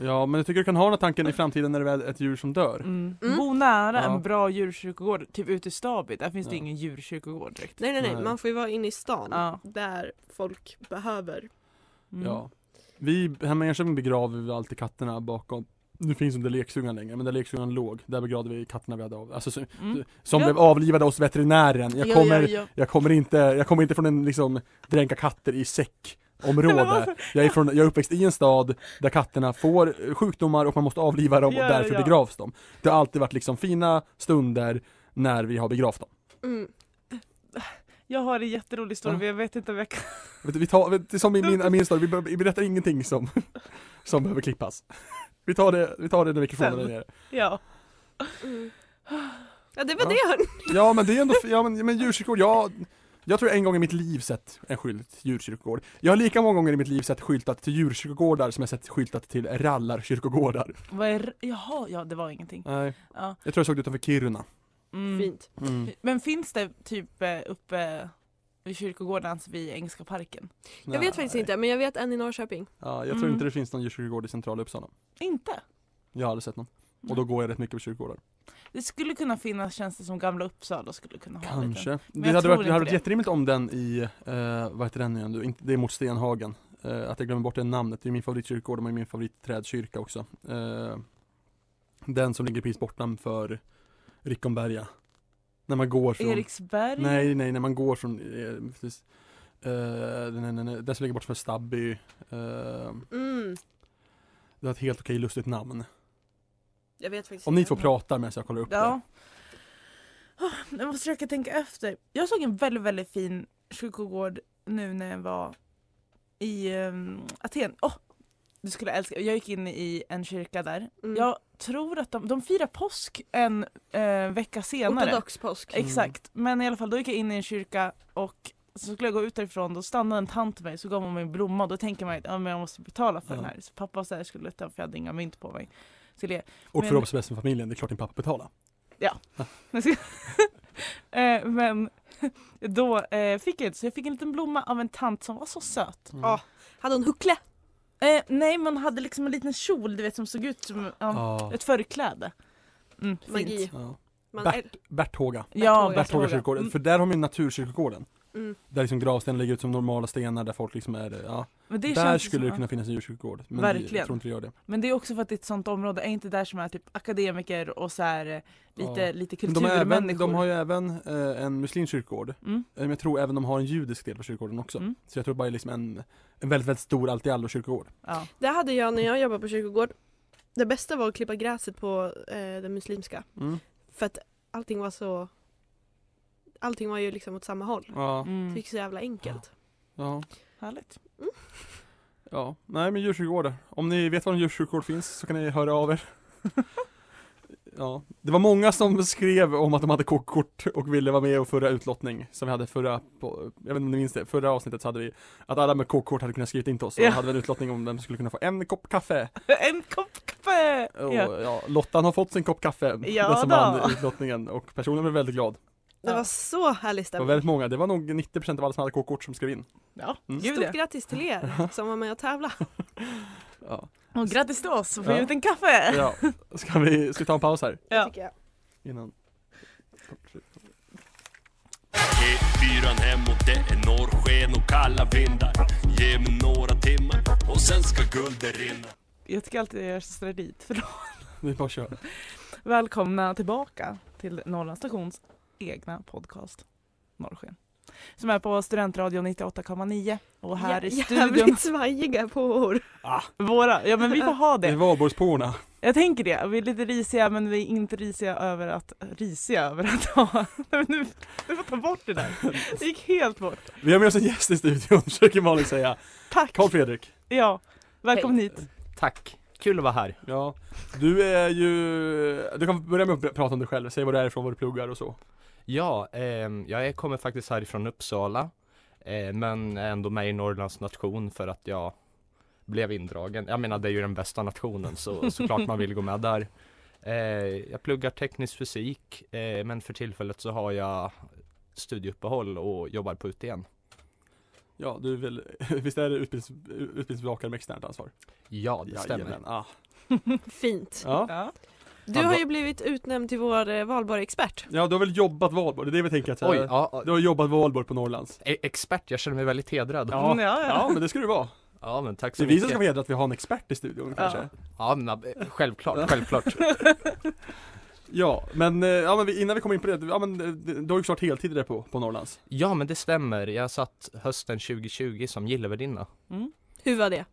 S3: ja, men jag tycker du kan ha den här tanken i framtiden när det väl är ett djur som dör.
S4: Mm.
S5: Mm.
S4: Bo nära
S3: Ja.
S4: en bra djurkyrkogård, typ ute i Stabit. Där finns det
S3: Ja. Mm.
S4: ingen djurkyrkogård direkt.
S5: nej, nej nej
S3: Nej.
S5: man får ju vara inne i stan.
S4: Ja.
S5: Där folk behöver.
S4: Mm.
S3: Ja. Vi, hemma i Enköping begraver vi alltid katterna bakom nu finns inte lekstugan längre, men där lekstugan låg, där begravde vi katterna vi hade av, alltså, så,
S4: Mm.
S3: som
S4: Ja.
S3: blev avlivade hos veterinären. Jag
S4: Ja,
S3: kommer,
S4: ja, ja.
S3: Jag, kommer inte, jag kommer inte från en liksom dränka katter i säck område. Jag är, från, jag är uppväxt i en stad där katterna får eh, sjukdomar och man måste avliva dem
S4: Ja,
S3: och
S4: ja,
S3: därför
S4: ja.
S3: begravs de. Det har alltid varit liksom fina stunder när vi har begravt dem.
S5: Mm.
S4: Jag har en jätterolig historia
S3: Ja.
S4: men jag vet inte om jag kan...
S3: Vet du, Vi tar, vet du, som i min, i min story, vi, be- vi berättar ingenting som, som behöver klippas. Vi tar det, vi tar det när mikrofonen är
S4: Sen.
S3: nere.
S4: Ja.
S5: Mm. Ja det var
S3: Ja.
S5: det hörni.
S3: Ja men det är ändå, ja men, men djurkyrkogård, jag, jag tror en gång i mitt liv sett en skylt djurkyrkogård. Jag har lika många gånger i mitt liv sett skyltat till djurkyrkogårdar som jag sett skyltat till rallarkyrkogårdar.
S4: Vad är... Jaha, ja det var ingenting.
S3: Nej.
S4: Ja.
S3: Jag tror jag såg det utanför Kiruna.
S4: Mm.
S5: Fint.
S3: Mm.
S4: Men finns det typ eh, uppe vid kyrkogårdens vid Engelska parken.
S5: Jag vet faktiskt inte men jag vet en i Norrköping.
S3: Ja, jag tror
S4: Mm.
S3: inte det finns någon djurkyrkogård i centrala Uppsala.
S4: Inte?
S3: Jag har aldrig sett någon. Och då går jag rätt mycket på kyrkogårdar.
S4: Det skulle kunna finnas tjänster som Gamla Uppsala skulle kunna ha. en liten-
S3: Kanske.
S4: Men
S3: Det
S4: jag
S3: hade
S4: tror
S3: varit, det
S4: inte
S3: hade varit
S4: det.
S3: jätterimligt om den i, eh, vad heter den nu igen? du? Inte- Det är mot Stenhagen. Eh, att jag glömmer bort det namnet. Det är min favoritkyrkogård, de har ju min favoritträdkyrka också. Eh, den som ligger precis bortanför Rickomberga. När man går från...
S4: Eriksberg?
S3: Nej, nej, när man går från, eh, precis. Eh, nej, nej, nej, den som ligger bort från Stabby. Eh,
S5: Mm,
S3: det har ett helt okej lustigt namn.
S5: jag vet faktiskt
S3: Om ni
S5: inte.
S3: två pratar medan jag kollar upp det.
S4: Ja. Oh, jag måste försöka tänka efter. Jag såg en väldigt, väldigt fin kyrkogård nu när jag var i ehm, Aten. Åh, du skulle älska. Jag gick in i en kyrka där.
S5: Mm.
S4: Jag tror att de, de firar påsk en eh, vecka senare.
S5: Ortodox påsk.
S3: Mm.
S4: Exakt, men i alla fall då gick jag in i en kyrka och så skulle jag gå ut därifrån, då stannade en tant mig så gav hon mig en blomma och då tänker man att ja, men jag måste betala för
S3: Ja.
S4: den här. Så pappa så här skulle ta för jag hade inga mynt på mig. Skulle jag,
S3: Och
S4: Men-
S3: för Robs bästa familjen, det är klart din pappa betalar.
S4: eh, men då eh, fick jag inte, så jag fick en liten blomma av en tant som var så söt.
S3: Mm.
S5: Ja. Hade hon huckle?
S4: Eh, nej, man hade liksom en liten kjol du vet som såg ut som ja,
S3: Ja.
S4: ett förkläde. Mm, fint.
S5: Magi.
S3: Ja.
S5: Man eh,
S3: Bert.
S5: äl-
S3: Berthåga.
S4: Ja,
S3: Berthåga
S5: Berthåga.
S4: Berthåga.
S3: kyrkogården,
S4: Mm,
S3: för där har man ju naturkyrkogården.
S5: mm.
S3: Där liksom gravstenar ligger ut som normala stenar där folk liksom är, ja.
S4: Men det
S3: Där
S4: känns
S3: skulle
S4: som,
S3: det kunna finnas en djurkyrkogård. Men
S4: Verkligen.
S3: jag tror inte det gör det.
S4: Men det är också för att det är ett sånt område, är inte där som är typ akademiker och så här eh, lite,
S3: Ja.
S4: lite
S3: Men de, är även,
S4: kulturmänniskor.
S3: de har ju även eh, en muslimsk kyrkogård. Eh,
S4: mm.
S3: Men jag tror även de har en judisk del på kyrkogården också.
S4: Mm.
S3: Så jag tror bara det är liksom en, en väldigt, väldigt stor allt-i-allo kyrkogård.
S4: ja.
S5: Det hade jag när jag jobbade på kyrkogård. Det bästa var att klippa gräset på eh, den muslimska.
S3: Mm.
S5: För att allting var så Allting var ju liksom åt samma håll.
S3: Ja,
S5: Det
S4: Mm.
S5: gick så jävla enkelt.
S3: ja,
S4: Härligt.
S3: ja. Nej men djurkyrkogårdar. Om ni vet var en djurkyrkogård finns så kan ni höra av er. Ja, det var många som skrev om att de hade kokkort och ville vara med och förra utlottning som vi hade förra, på, jag vet inte om ni minns det, förra avsnittet så hade vi att alla med kokkort hade kunnat skriva in till oss och
S4: Ja.
S3: hade vi en utlottning om vem som skulle kunna få en kopp kaffe
S4: en kopp kaffe!
S3: och
S4: Ja.
S3: ja. Lottan har fått sin kopp kaffe,
S4: Ja
S3: den som
S4: då.
S3: vann utlottningen och personen blev väldigt glad.
S5: Det
S4: Ja.
S5: var så härlig
S3: Det var
S5: stämning.
S3: väldigt många, det var nog 90% av alla som hade kokkort som skrev in.
S4: Ja,
S3: Mm.
S4: gud
S5: Stort
S4: ja.
S5: grattis till er som var med och tävla.
S3: Ja,
S4: Och grattis till oss som får
S3: Ja.
S4: ut en kaffe!
S3: ja. Ska, vi, ska vi ta en paus här?
S4: Ja.
S5: Tycker jag.
S3: Innan.
S2: E4 hemåt det är norrsken och kalla vindar Ge mig några timmar och sen ska guldet rinna
S4: Jag tycker alltid jag gör så sådär dit. För då.
S3: Vi bara kör.
S4: Välkomna tillbaka till Norrlands stations egna podcast Norrsken. Som är på Studentradion 98,9 och här i
S5: Jä-
S4: studion,
S5: Jävligt svajiga påor.
S4: våra, ja men vi får ha
S3: Det är
S4: det.
S3: valborgsporna.
S4: Jag tänker det, vi är lite risiga men vi är inte risiga över att, risiga över att ha, Nej, men nu, du får ta bort det där. Det gick helt bort.
S3: Vi har med oss en gäst i studion, försöker Malin säga.
S4: Tack!
S3: Karl Fredrik.
S4: Ja, välkommen hit.
S6: Tack, kul att vara här.
S3: Ja, du är ju, du kan börja med att prata om dig själv, säg var du är ifrån, vad du pluggar och så.
S6: Ja, ehm, jag är- kommer faktiskt härifrån Uppsala, eh, men är ändå med i Norrlands nation för att jag blev indragen. Jag menar, det är ju den bästa nationen, så såklart man vill gå med där. Eh, jag pluggar teknisk fysik, eh, men för tillfället så har jag studieuppehåll och jobbar på UTN.
S3: Ja, du är väl, visst är det utbildnings, utbildningsbevakare med externt ansvar?
S6: Ja, det stämmer.
S3: Jajamän, Ah.
S5: Fint.
S3: Ja.
S4: Ja.
S5: Du har ju blivit utnämnd till vår eh, valborg-expert.
S3: ja, du har väl jobbat Valborg, det är det vi tänker att
S6: Oj,
S3: eh,
S6: ja,
S3: Du har jobbat Valborg på Norrlands.
S6: e- expert, jag känner mig väldigt hedrad.
S3: Ja.
S4: Mm, ja,
S3: Ja,
S4: ja.
S3: men det ska du vara.
S6: Ja, men tack
S3: Det
S6: så
S3: är vi som ska
S6: mycket.
S3: få hedra att vi har en expert i studion kanske.
S6: Ja, men, eh, självklart, självklart.
S3: Ja, men, eh, ja, men vi, innan vi kommer in på det, ja, men, eh, du har ju klart heltid där på, på Norrlands.
S6: Ja, men det stämmer. Jag satt hösten 2020 som gillevärdinna.
S4: Mm.
S5: Hur var det?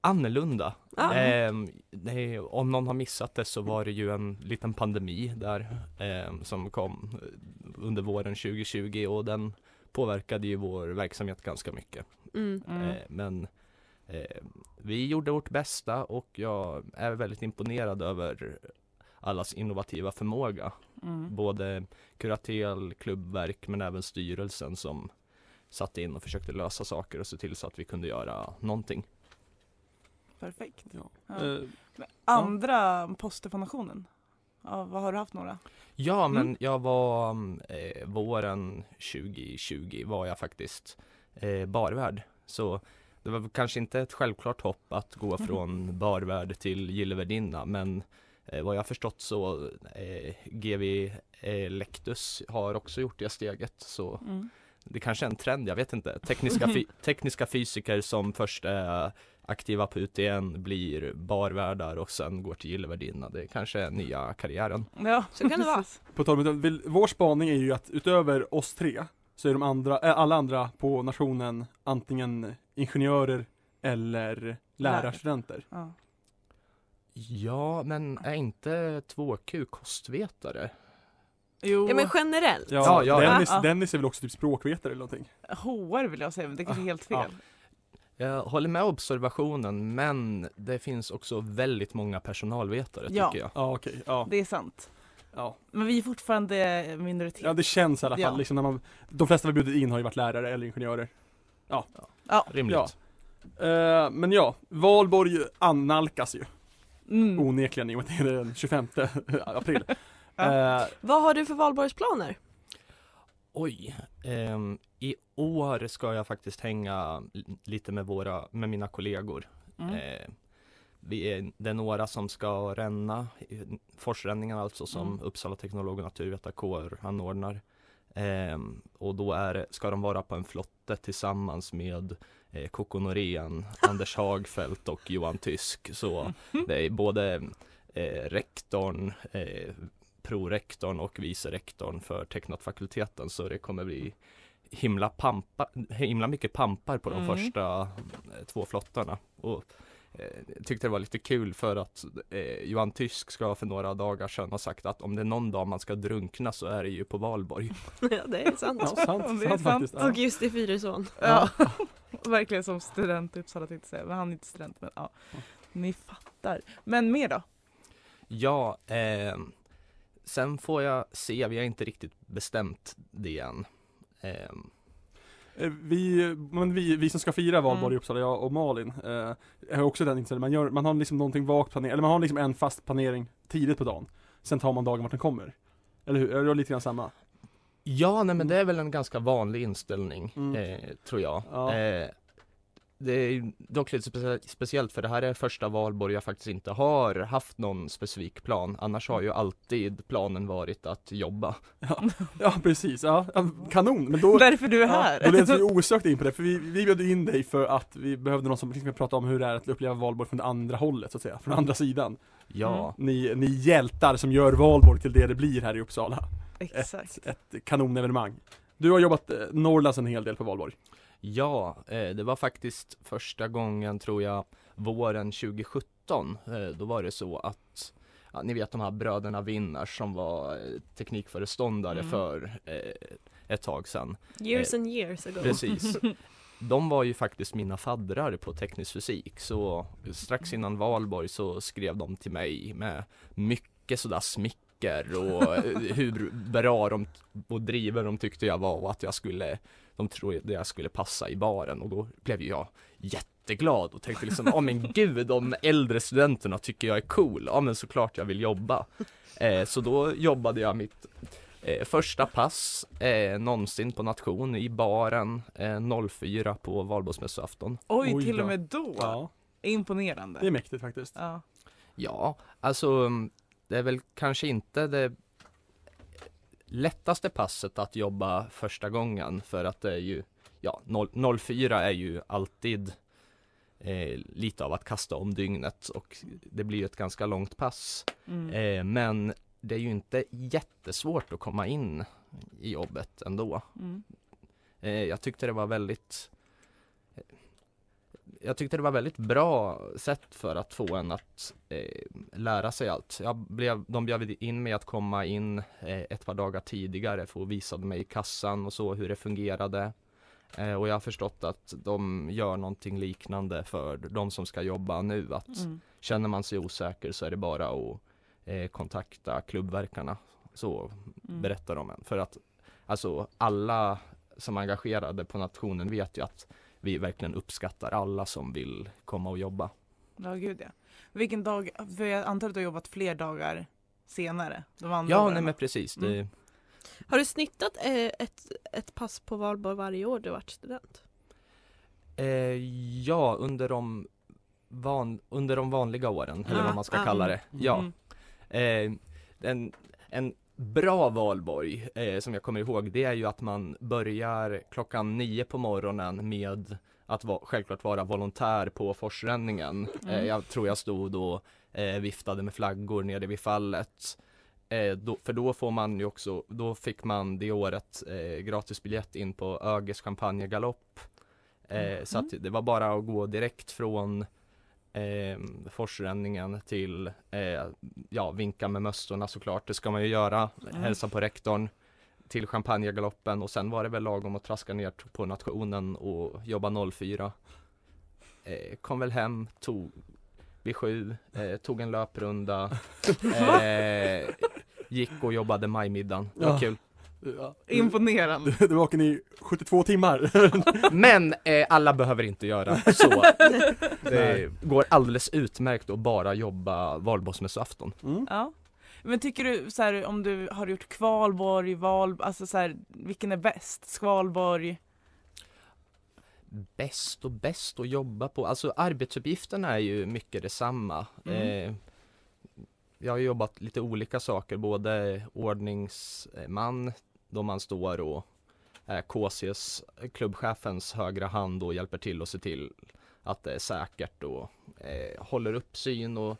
S6: annorlunda.
S5: Ja.
S6: Ehm, nej, om någon har missat det så var det ju en liten pandemi där ehm, som kom eh, under våren 2020 och den påverkade ju vår verksamhet ganska mycket.
S5: Mm.
S4: Mm.
S6: Eh, men eh, vi gjorde vårt bästa och jag är väldigt imponerad över allas innovativa förmåga.
S4: Mm.
S6: Både kuratel, klubbverk men även styrelsen som satt in och försökte lösa saker och se till så att vi kunde göra någonting.
S4: Perfekt.
S3: Ja.
S4: Ja.
S3: Eh,
S4: Andra poster på nationen Ja, vad har du haft några?
S6: Ja, men
S4: Mm.
S6: jag var mm, eh, våren 2020 var jag faktiskt eh, barvärd. Så det var väl kanske inte ett självklart hopp att gå från barvärd till gillevärdinna, men eh, vad jag förstått så eh, GV eh, Lectus har också gjort det steget. Så
S4: Mm.
S6: det kanske är en trend, jag vet inte. Tekniska, fy- tekniska fysiker som först är aktiva på UTN blir barvärdar och sen går till gillevärdinna. Det kanske är nya karriären.
S4: Ja,
S5: Så kan det vara.
S4: precis.
S3: På tal om det, vill- vår spaning är ju att utöver oss tre så är de andra, äh, alla andra på nationen antingen ingenjörer eller lärarstudenter.
S4: Ja.
S6: Ja, men är inte 2Q kostvetare?
S4: Jo,
S5: Ja men generellt.
S3: Ja,
S6: Ja, ja, ja.
S3: Dennis,
S4: Ja.
S3: Dennis är väl också typ språkvetare eller någonting?
S4: HR vill jag säga, men det kanske är helt
S3: Ja.
S4: fel.
S6: Jag håller med observationen, men det finns också väldigt många personalvetare
S4: Ja.
S6: tycker jag.
S3: Ja okej, ja,
S4: Det är sant.
S3: ja.
S4: Men vi är fortfarande minoritet.
S3: Ja det känns i alla fall
S4: Typ. Ja.
S3: liksom när man, De flesta vi bjudit in har ju varit lärare eller ingenjörer.
S6: Rimligt.
S3: Ja. Eh, men ja, valborg annalkas ju
S4: Mm.
S3: onekligen i och med att det är den 25 april.
S4: Ja.
S3: Eh,
S5: Vad har du för valborgsplaner?
S6: Oj, ehm, i år ska jag faktiskt hänga l- lite med, våra, med mina kollegor.
S4: Mm.
S6: Eh, vi är, det är några som ska ränna, eh, forsränningar alltså som
S4: Mm.
S6: Uppsala teknolog och naturvetarkår anordnar. Ehm, och då är, det- ska de vara på en flotte tillsammans med eh, Coco Norén, Anders Hagfeldt och Johan Tysk. Så det är både eh, rektorn, eh, prorektorn och vice rektorn för tecknatfakulteten så det kommer bli himla, pampa, himla mycket pampar på de
S4: Mm.
S6: första eh, två flottarna. Och, eh, jag tyckte det var lite kul för att eh, Johan Tysk ska för några dagar sedan ha sagt att om det är någon dag man ska drunkna så är det ju på valborg.
S5: ja det är sant.
S3: ja, sant, sant,
S4: Det är sant.
S3: faktiskt. Ja.
S5: Och just i Fyrisån.
S4: Ja. Verkligen som student i Uppsala tänkte jag säga, men han är inte student men ja. Ni fattar. Men mer då?
S6: Ja, eh, sen får jag se, vi har inte riktigt bestämt det än. Eh,
S3: Eh, Vi, men vi, vi som ska fira valborg i
S4: Mm.
S3: Uppsala, jag och Malin, eh, är också den inställningen. Man, gör, man har liksom någonting vagt planerat, eller man har liksom en fast planering tidigt på dagen. Sen tar man dagen vart den kommer. Eller hur? Är det lite grann samma?
S6: Ja, nej men det är väl en ganska vanlig inställning,
S3: Mm.
S6: eh, tror jag.
S3: Ja.
S6: Eh, det är ju dock lite specie- speciellt för det här är första valborg jag faktiskt inte har haft någon specifik plan. Annars
S3: Mm.
S6: har ju alltid planen varit att jobba.
S3: Ja precis, ja, ja, kanon! Men då,
S4: Därför du är
S3: ja,
S4: här?
S3: då leds vi osökt in på det, för vi, vi bjöd ju in dig för att vi behövde någon som liksom kunde prata om hur det är att uppleva valborg från det andra hållet så att säga, från andra sidan.
S6: Ja,
S3: Ni, ni hjältar som gör valborg till det det blir här i Uppsala.
S4: Exakt.
S3: Ett kanonevenemang. Du har jobbat eh, Norrlands en hel del på valborg.
S6: ja eh, det var faktiskt första gången tror jag våren 2017. Eh, då var det så att Ja, ni vet de här bröderna Winnar som var eh, teknikföreståndare
S4: Mm.
S6: för eh, ett tag sedan.
S5: Years and years ago.
S6: Precis. De var ju faktiskt mina faddrar på teknisk fysik så strax innan valborg så skrev de till mig med mycket sådär smicker och eh, hur bra de och driven de tyckte jag var och att jag skulle de trodde jag skulle passa i baren och då blev ju jag jätteglad och tänkte liksom, ja men gud de äldre studenterna tycker jag är cool, ja men såklart jag vill jobba. Eh, så då jobbade jag mitt Eh, första pass eh, någonsin på nation i baren eh, 04 på valborgsmässoafton.
S4: Oj,
S3: Oj
S4: till och
S3: då.
S4: med då.
S3: Ja,
S4: Imponerande.
S3: det är mäktigt faktiskt.
S4: Ja.
S6: Ja, alltså mm, det är väl kanske inte det lättaste passet att jobba första gången för att det är ju, ja, noll- 04 är ju alltid eh, lite av att kasta om dygnet och det blir ju ett ganska långt pass.
S4: Mm.
S6: Eh, men det är ju inte jättesvårt att komma in i jobbet ändå.
S4: Mm.
S6: Eh, jag tyckte det var väldigt eh, jag tyckte det var väldigt bra sätt för att få en att eh, lära sig allt. Jag blev, de bjöd in mig att komma in eh, ett par dagar tidigare för att visa mig i kassan och så hur det fungerade. Eh, och jag har förstått att de gör någonting liknande för de som ska jobba nu. Att
S4: Mm.
S6: Känner man sig osäker så är det bara att eh, kontakta klubbverkarna så
S4: Mm.
S6: berättar de en. För att alltså alla som är engagerade på nationen vet ju att vi verkligen uppskattar alla som vill komma och jobba.
S4: Ja, gud ja. Vilken dag, för jag antar att du har jobbat fler dagar senare. De andra
S6: Ja,
S4: åren.
S6: nej men precis. Det,
S5: Har du snittat eh, ett, ett pass på valborg varje år du varit student?
S6: Eh, ja, under de, van, under de vanliga åren, eller
S5: Ah,
S6: vad man ska
S5: ah,
S6: kalla det. Ja.
S4: Mm.
S6: Eh, en, en bra valborg, eh, som jag kommer ihåg, det är ju att man börjar klockan nio på morgonen med att va, självklart vara volontär på forsränningen. Eh,
S4: Mm.
S6: jag tror jag stod och eh, viftade med flaggor nere vid fallet. Eh, då, för då får man ju också, då fick man det året eh, gratisbiljett in på Öges champagnegalopp. Eh, Så att det var bara att gå direkt från eh, forsränningen till, eh, ja vinka med mössorna såklart, det ska man ju göra,
S4: Mm.
S6: hälsa på rektorn till champagnegaloppen och sen var det väl lagom att traska ner t- på nationen och jobba 04. Eh, kom väl hem, tog vid sju, eh, tog en löprunda, eh, gick och jobbade majmiddagen. Det var
S3: Ja.
S6: kul.
S3: Ja.
S4: Imponerande.
S3: Du du var vaken i 72 timmar.
S6: Men eh, alla behöver inte göra så. Det går alldeles utmärkt att bara jobba valborgsmässoafton.
S3: Mm.
S4: Ja. Men tycker du så här, om du har gjort kvalborg, val, alltså så här, vilken är bäst? Skvalborg?
S6: bäst och bäst att jobba på. Alltså arbetsuppgifterna är ju mycket detsamma.
S4: Mm.
S6: Eh, jag har jobbat lite olika saker, både ordningsman då man står och är KCs, klubbchefens högra hand och hjälper till och ser till att det är säkert och eh, håller uppsyn och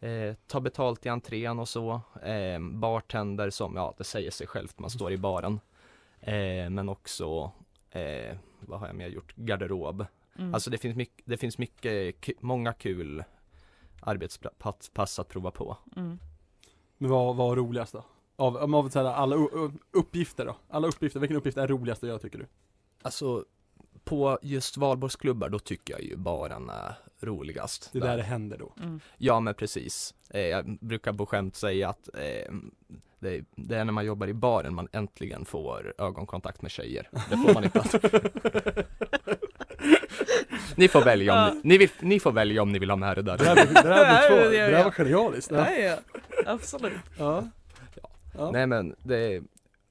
S6: eh, tar betalt i entrén och så. Eh, bartender som, ja det säger sig självt, man står i baren. Eh, men också eh, vad har jag mer gjort? Garderob.
S4: Mm.
S6: Alltså det finns, mycket, det finns mycket, ku- många kul arbetspass pass att prova på.
S4: Mm.
S3: Men vad vad var roligast då? Av, om- av så här, alla u- u- uppgifter då? Alla uppgifter, vilken uppgift är roligast att göra tycker du?
S6: Alltså på just valborgsklubbar då tycker jag ju baren är roligast.
S3: Det är där det händer då.
S4: Mm.
S6: Ja men precis. Eh, jag brukar på skämt säga att eh, det, är, det är när man jobbar i baren man äntligen får ögonkontakt med tjejer. Det får man inte. alls. ni får välja om ni, ni, vill, ni får välja om ni vill ha med det
S3: Det
S6: där.
S3: där, det där, blir kvar.
S4: Ja, ja,
S3: det där
S4: ja.
S3: var genialiskt.
S4: Ja,
S3: Ja.
S4: ja. Absolut.
S3: Ja. Ja.
S6: Nej men det är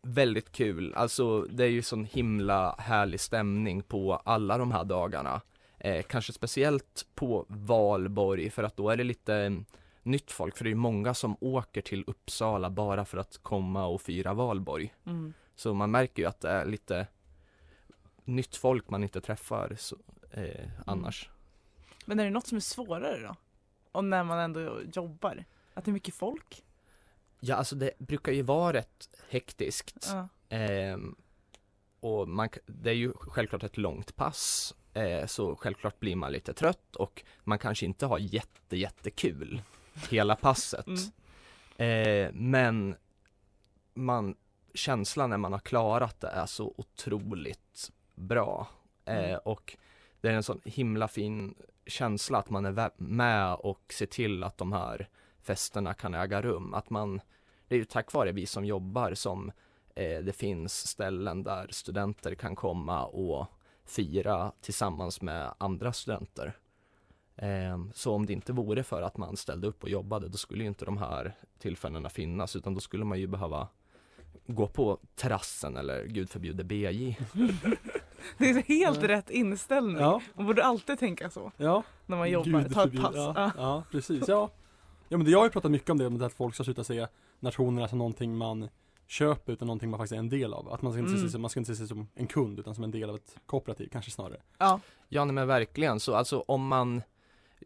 S6: väldigt kul, alltså det är ju sån himla härlig stämning på alla de här dagarna. Eh, kanske speciellt på valborg för att då är det lite mm, nytt folk för det är ju många som åker till Uppsala bara för att komma och fira valborg.
S4: Mm.
S6: Så man märker ju att det är lite nytt folk man inte träffar så, eh, annars.
S4: Men är det något som är svårare då? Och när man ändå jobbar? Att det är mycket folk?
S6: Ja alltså det brukar ju vara rätt hektiskt.
S4: Ja.
S6: Ehm, och man, k- det är ju självklart ett långt pass eh, så självklart blir man lite trött och man kanske inte har jätte jättekul hela passet.
S4: Mm.
S6: Eh, men man, känslan när man har klarat det är så otroligt bra. Eh,
S4: Mm.
S6: och det är en sån himla fin känsla att man är vä- med och ser till att de här festerna kan äga rum. Att man, det är ju tack vare vi som jobbar som eh, det finns ställen där studenter kan komma och fira tillsammans med andra studenter. Ehm, Så om det inte vore för att man ställde upp och jobbade då skulle ju inte de här tillfällena finnas utan då skulle man ju behöva gå på terrassen eller gud förbjude BJ.
S4: Det är helt
S3: Ja.
S4: rätt inställning.
S3: Ja,
S4: Man borde alltid tänka så
S3: ja.
S4: när man jobbar,
S3: Gud
S4: tar ett
S3: förbjud-
S4: pass.
S3: Ja,
S4: Ja.
S3: ja, precis. Ja. ja, men det, jag har ju pratat mycket om det, om det att folk ska sluta se nationerna som någonting man köper utan någonting man faktiskt är en del av. Att man ska inte, se,
S4: Mm.
S3: sig som, man ska inte se sig som en kund utan som en del av ett kooperativ kanske snarare.
S4: Ja.
S6: Ja nej, men verkligen, så alltså om man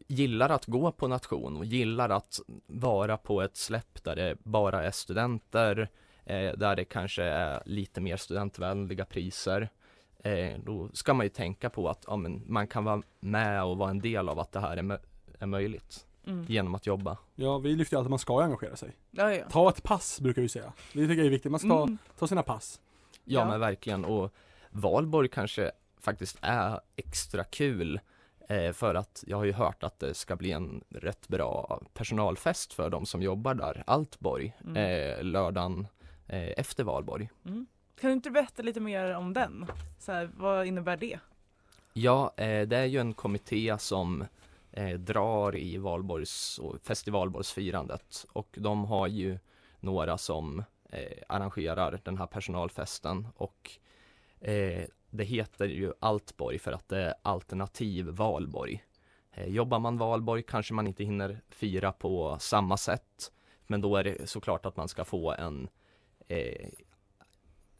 S6: gillar att gå på nation och gillar att vara på ett släpp där det bara är studenter, eh, där det kanske är lite mer studentvänliga priser, eh, då ska man ju tänka på att ja, men man kan vara med och vara en del av att det här är, mö- är möjligt
S4: Mm.
S6: genom att jobba.
S3: Ja, vi lyfter ju alltid att man ska ju engagera sig.
S4: Ja, ja.
S3: Ta ett pass brukar vi säga. Det tycker jag är viktigt. Man ska
S4: Mm.
S3: ta sina pass.
S6: Ja,
S4: Ja.
S6: men verkligen och valborg kanske faktiskt är extra kul eh, för att jag har ju hört att det ska bli en rätt bra personalfest för de som jobbar där, Altborg,
S4: Mm.
S6: eh, lördagen eh, efter valborg.
S4: Kan du inte berätta lite mer om den? Så här, vad innebär det?
S6: Ja, eh, det är ju en kommitté som eh, drar i valborgs och festivalborgsfirandet och de har ju några som eh, arrangerar den här personalfesten och eh, det heter ju Altborg för att det är alternativ valborg. Eh, jobbar man valborg kanske man inte hinner fira på samma sätt men då är det såklart att man ska få en eh,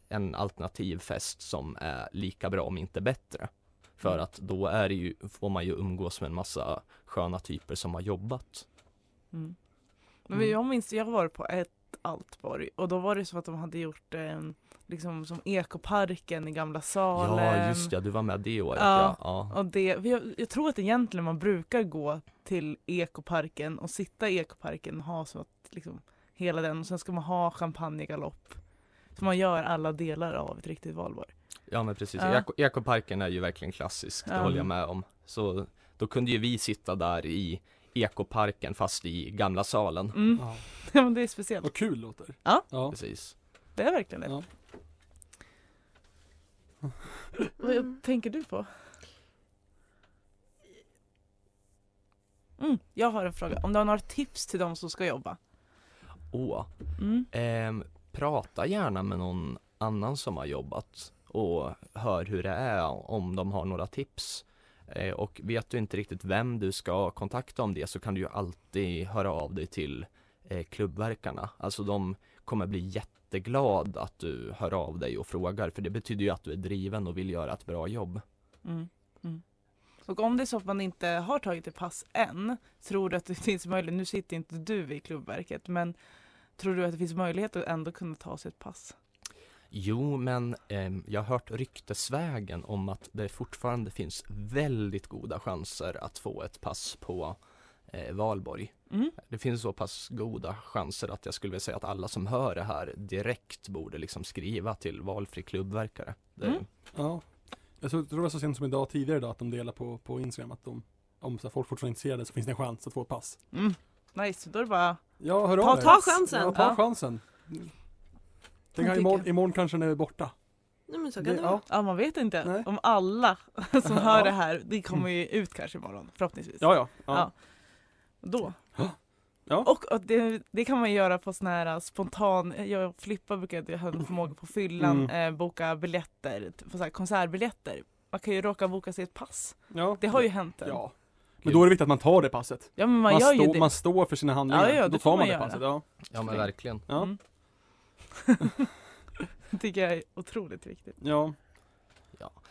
S6: en alternativ fest som är lika bra om inte bättre. För att då är det ju, får man ju umgås med en massa sköna typer som har jobbat.
S4: Mm. Men jag minns, jag var på ett Altborg och då var det som att de hade gjort eh, liksom som ekoparken i Gamla salen.
S6: Ja just ja, du var med det året
S4: Ja.
S6: ja. ja.
S4: Och det, för jag, jag tror att egentligen man brukar gå till ekoparken och sitta i ekoparken och ha så att liksom hela den och sen ska man ha champagnegalopp. Så man gör alla delar av ett riktigt valborg.
S6: Ja men precis,
S4: Ja.
S6: Eko- ekoparken är ju verkligen klassisk, det
S4: Ja.
S6: håller jag med om. Så då kunde ju vi sitta där i ekoparken fast i gamla salen.
S4: Mm.
S3: Ja.
S4: Ja, men det är speciellt.
S3: Vad kul det låter.
S4: Ja.
S3: ja.
S6: Precis.
S4: Det är verkligen det.
S3: Ja.
S4: Vad
S5: Mm.
S4: tänker du på? Mm, jag har en fråga. Om du har några tips till de som ska jobba?
S6: Åh,
S4: Mm.
S6: ehm, prata gärna med någon annan som har jobbat och hör hur det är om de har några tips. Eh, och vet du inte riktigt vem du ska kontakta om det så kan du ju alltid höra av dig till eh, klubbverkarna. Alltså de kommer bli jätteglad att du hör av dig och frågar för det betyder ju att du är driven och vill göra ett bra jobb.
S4: Mm. Mm. Och om det är så att man inte har tagit ett pass än, tror du att det finns möjlighet, nu sitter inte du i klubbverket, men tror du att det finns möjlighet att ändå kunna ta sig ett pass?
S6: Jo, men ehm, jag har hört ryktesvägen om att det fortfarande finns väldigt goda chanser att få ett pass på eh, Valborg.
S4: Mm.
S6: Det finns så pass goda chanser att jag skulle vilja säga att alla som hör det här direkt borde liksom skriva till valfri klubbverkare. Det,
S4: Mm.
S3: ja. Jag tror tror det var så sent som idag tidigare idag att de delar på, på Instagram att de, om så här, folk fortfarande är intresserade så finns det en chans att få ett pass.
S4: Mm. Nice, då är det bara...
S3: Ja, hör
S4: Ta-
S3: av er.
S4: ta
S5: chansen.
S3: Ja, ta
S4: Ja.
S3: chansen. Tänk här,
S4: tycker
S3: imorgon,
S4: jag.
S3: imorgon kanske den är borta.
S5: Nej men så
S3: Det-
S5: kan det
S3: ja.
S5: vara.
S4: Ja, man vet inte
S3: Nej.
S4: om alla som hör
S3: Ja.
S4: det här, det kommer ju ut kanske imorgon, förhoppningsvis.
S3: Ja, ja. ja.
S4: Ja. Då.
S3: Ja.
S4: Och, och det, det kan man göra på sån här äh, spontan, jag och Flippa brukade ha en förmåga på fyllan,
S3: Mm.
S4: eh, boka biljetter, t- på så här konsertbiljetter. Man kan ju råka boka sig ett pass.
S3: ja.
S4: Det har ju hänt än. Ja,
S3: Ja. Men då är det viktigt att man tar det passet.
S4: ja men man,
S3: Man,
S4: gör ju
S3: står-
S4: det.
S3: man står för sina handlingar.
S4: Ja, ja,
S3: då
S4: det
S3: tar
S4: får
S3: man,
S4: man
S3: det
S4: göra.
S3: passet. Ja.
S6: Ja, men verkligen.
S3: Ja.
S4: Mm. det tycker jag är otroligt viktigt.
S3: ja.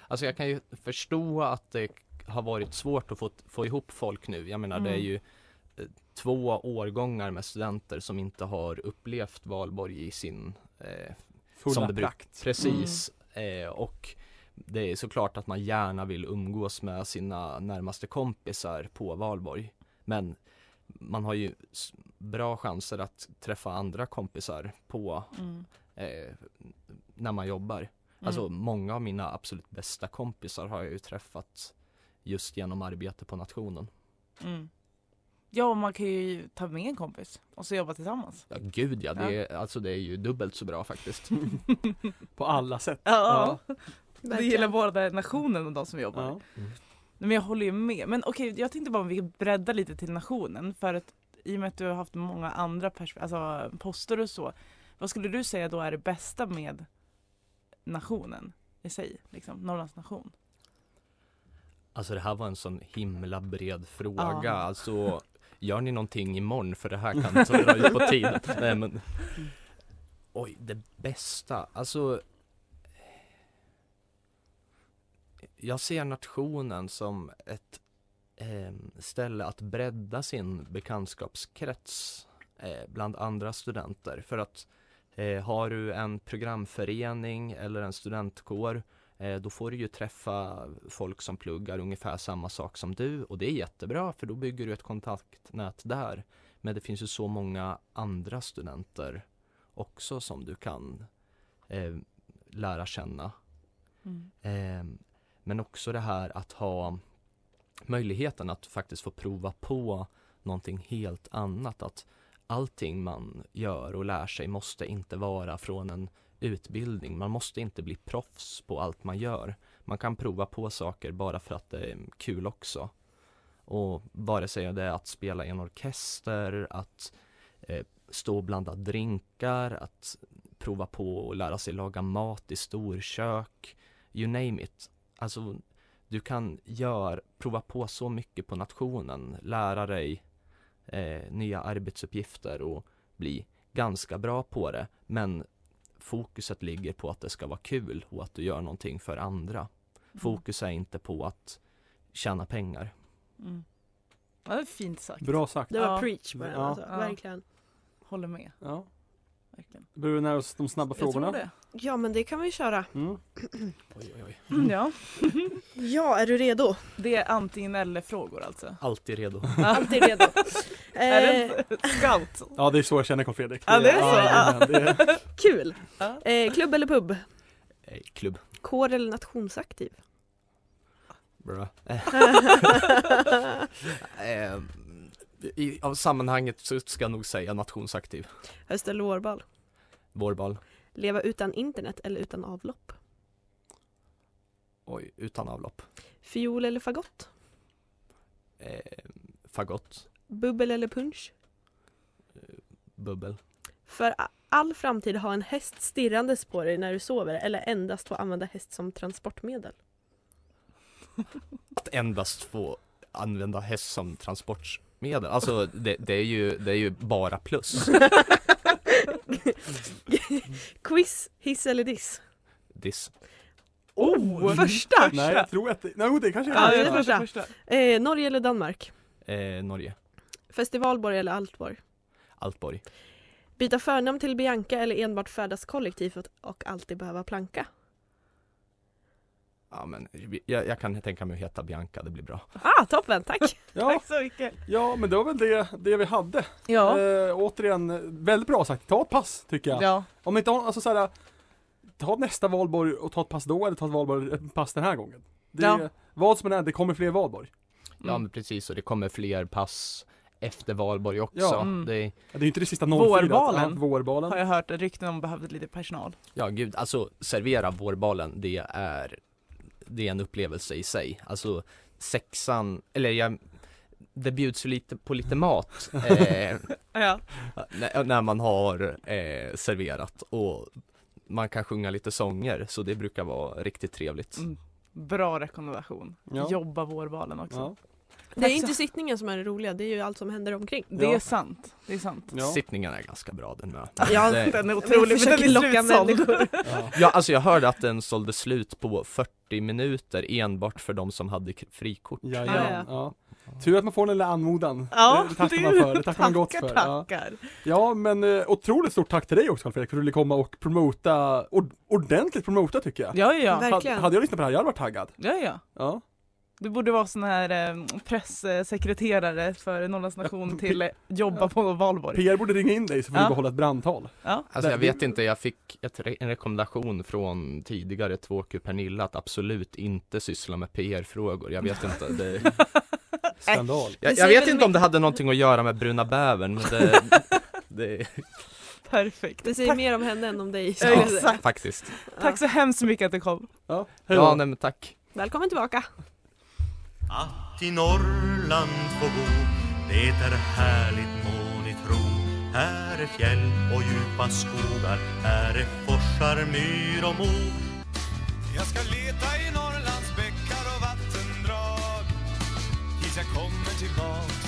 S6: Alltså jag kan ju förstå att det har varit svårt att få, få ihop folk nu. Jag menar det är
S4: Mm.
S6: ju eh, två årgångar med studenter som inte har upplevt valborg i sin eh,
S3: Fulla
S6: Som det brukar.
S3: prakt.
S6: Precis. Eh, och det är såklart att man gärna vill umgås med sina närmaste kompisar på valborg. Men man har ju s- bra chanser att träffa andra kompisar på
S4: Mm.
S6: eh, när man jobbar. Alltså många av mina absolut bästa kompisar har jag ju träffat just genom arbete på nationen.
S4: Mm. Ja, och man kan ju ta med en kompis och så jobba tillsammans.
S6: Ja, gud ja, det, Är, alltså det är ju dubbelt så bra faktiskt.
S3: På alla sätt.
S4: Ja, det
S5: Verkligen.
S4: gillar båda nationen och de som jobbar.
S3: Ja.
S4: Nej, Men jag håller ju med. Men okej, jag tänkte bara om vi breddar lite till nationen för att i och med att du har haft många andra pers- alltså, poster och så. Vad skulle du säga då är det bästa med nationen i sig? Liksom, Norrlands nation?
S6: Alltså det här var en sån himla bred fråga.
S4: Ja.
S6: Alltså gör ni någonting imorgon för det här kan ta- dra ut på tiden. Nej men. Oj, det bästa. Alltså. Jag ser nationen som ett ehm, ställe att bredda sin bekantskapskrets eh, bland andra studenter. För att eh, har du en programförening eller en studentkår Eh, Då får du ju träffa folk som pluggar ungefär samma sak som du och det är jättebra för då bygger du ett kontaktnät där. Men det finns ju så många andra studenter också som du kan eh, lära känna. Eh, men också det här att ha möjligheten att faktiskt få prova på någonting helt annat. Att allting man gör och lär sig måste inte vara från en utbildning. Man måste inte bli proffs på allt man gör. Man kan prova på saker bara för att det är kul också. Och vare sig det är att spela i en orkester, att eh, stå och blanda drinkar, att prova på och lära sig laga mat i storkök, you name it. Alltså, du kan gör, prova på så mycket på nationen, lära dig eh, nya arbetsuppgifter och bli ganska bra på det. Men fokuset ligger på att det ska vara kul och att du gör någonting för andra. Fokus är inte på att tjäna pengar.
S4: Mm. Ja, det är fint sagt.
S3: Bra sagt.
S5: Det var
S4: Ja.
S5: preach på den
S3: Ja.
S5: alltså,
S4: Ja.
S5: verkligen.
S4: Håller med.
S3: Ja.
S4: Verkligen.
S3: Börjar vi närma oss de snabba frågorna?
S4: Jag tror det.
S5: Ja men det kan vi köra.
S3: Mm.
S6: Oj, oj, oj.
S4: Mm, ja.
S5: Ja, är du redo?
S4: Det är antingen eller frågor alltså.
S6: Alltid redo.
S5: Alltid redo.
S4: Är
S5: eh,
S4: det scout?
S3: Ja det är så jag känner Carl Fredrik.
S4: Ja, det är så.
S3: jajamän, det är-
S5: kul!
S4: Ja.
S5: Eh, klubb eller pub?
S6: Eh, klubb.
S5: Kår eller nationsaktiv?
S6: Bra. Eh, i, av sammanhanget så ska jag nog säga nationsaktiv.
S5: Höst eller vårbal?
S6: Vårbal.
S5: Leva utan internet eller utan avlopp?
S6: Oj, utan avlopp.
S5: Fiol eller fagott?
S6: Eh, fagott.
S5: Bubbel eller punch?
S6: Bubbel.
S5: För a- all framtid ha en häst stirrandes på dig när du sover eller endast få använda häst som transportmedel?
S6: Att endast få använda häst som transportmedel. Alltså det, det, är, ju, det är ju bara plus.
S5: Quiz, hiss eller diss?
S6: Diss.
S4: Oh! Första!
S3: Nej jag tror att det, nej det kanske
S5: Ja,
S3: är
S5: det
S3: det.
S5: är första. Eh, Norge eller Danmark?
S6: Eh, Norge.
S5: Festivalborg eller Altborg?
S6: Altborg.
S5: Byta förnamn till Bianca eller enbart färdas kollektivt och alltid behöva planka?
S6: Ja, men, vi- jag, jag kan tänka mig att heta Bianca, det blir bra.
S5: Ah, toppen, tack!
S3: Ja,
S4: Tack så mycket.
S3: ja men det var väl det, det vi hade.
S4: Ja.
S3: Eh, återigen, eh, väldigt bra sagt. Ta ett pass tycker jag.
S4: Ja.
S3: Om inte har, alltså såhär, ta nästa valborg och ta ett pass då eller ta ett valborg, ett pass den här gången. Det,
S4: Ja.
S3: Vad som än är, det kommer fler valborg.
S6: Ja
S4: Mm.
S6: men precis och det kommer fler pass efter valborg också.
S3: Ja.
S4: Mm.
S6: Det,
S3: Ja, Det är ju inte det sista 04.
S4: Vårbalen.
S3: Ja, vårbalen.
S4: Har jag hört rykten om behövde lite personal.
S6: ja gud, alltså servera vårbalen det är, det är en upplevelse i sig. Alltså sexan, eller jag, det bjuds ju lite på lite mat eh,
S4: Ja.
S6: när, när man har eh, serverat och man kan sjunga lite sånger så det brukar vara riktigt trevligt.
S4: Mm. Bra rekommendation.
S3: Ja.
S4: Jobba vårbalen också.
S3: Ja.
S5: Det är ju
S4: Tack så-
S5: inte sittningen som är det roliga, det är ju allt som händer omkring.
S4: Det
S3: Ja.
S4: är sant. Det är sant.
S3: Ja.
S6: Sittningen är ganska bra den med.
S5: Ja,
S6: det,
S4: Den är
S5: Vi
S4: otrolig men
S5: försöker
S4: den är
S5: locka
S4: slutsåld.
S5: människor.
S3: Ja.
S6: Ja, alltså jag hörde att den sålde slut på 40 minuter enbart för de som hade k- frikort.
S3: Ja,
S5: Ja, ja.
S3: ja. Tur att man får den lilla anmodan.
S4: Ja,
S3: det tackar
S4: det-
S3: man för. Det tackar man gott
S4: tackar,
S3: för. Ja.
S4: tackar.
S3: ja, men eh, otroligt stort tack till dig också Carl-Fredrik för att du ville komma och promota, ord- ordentligt promota tycker jag.
S4: Ja, ja.
S5: Verkligen.
S3: Hade- Hade jag lyssnat på det här, jag hade varit taggad.
S4: ja, ja.
S3: Ja.
S4: Du borde vara sån här eh, presssekreterare för Norrlands nation till eh, jobba
S3: Ja.
S4: på valborg.
S3: PR borde ringa in dig så får
S4: Ja.
S3: du behålla ett brandtal.
S4: Ja.
S6: Alltså jag vet inte, jag fick ett, re- en rekommendation från tidigare 2Q Pernilla att absolut inte syssla med PR-frågor. Jag vet inte. Det,
S3: Skandal.
S5: Det
S6: jag,
S5: säger
S6: jag vet
S5: väl
S6: inte om det hade någonting att göra med Bruna Bävern, men det, det
S4: Perfekt.
S5: Det säger
S4: Tack,
S5: mer om henne än om dig.
S4: Ja,
S5: skulle jag säga.
S4: exakt.
S6: faktiskt.
S4: tack så hemskt mycket att du kom.
S3: Ja, hej då.
S6: Ja, nej men tack.
S5: Välkommen tillbaka!
S2: Att i Norrland få bo Det är härligt må ni tro Här är fjäll och djupa skogar Här är forsar, myr och mo Jag ska leta i Norrlands bäckar och vattendrag Tills jag kommer tillbaka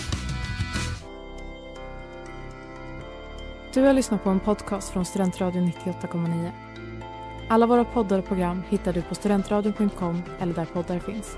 S1: Du har lyssnat på en podcast från Studentradion 98,9. Alla våra poddar och program hittar du på studentradion.com eller där poddar finns.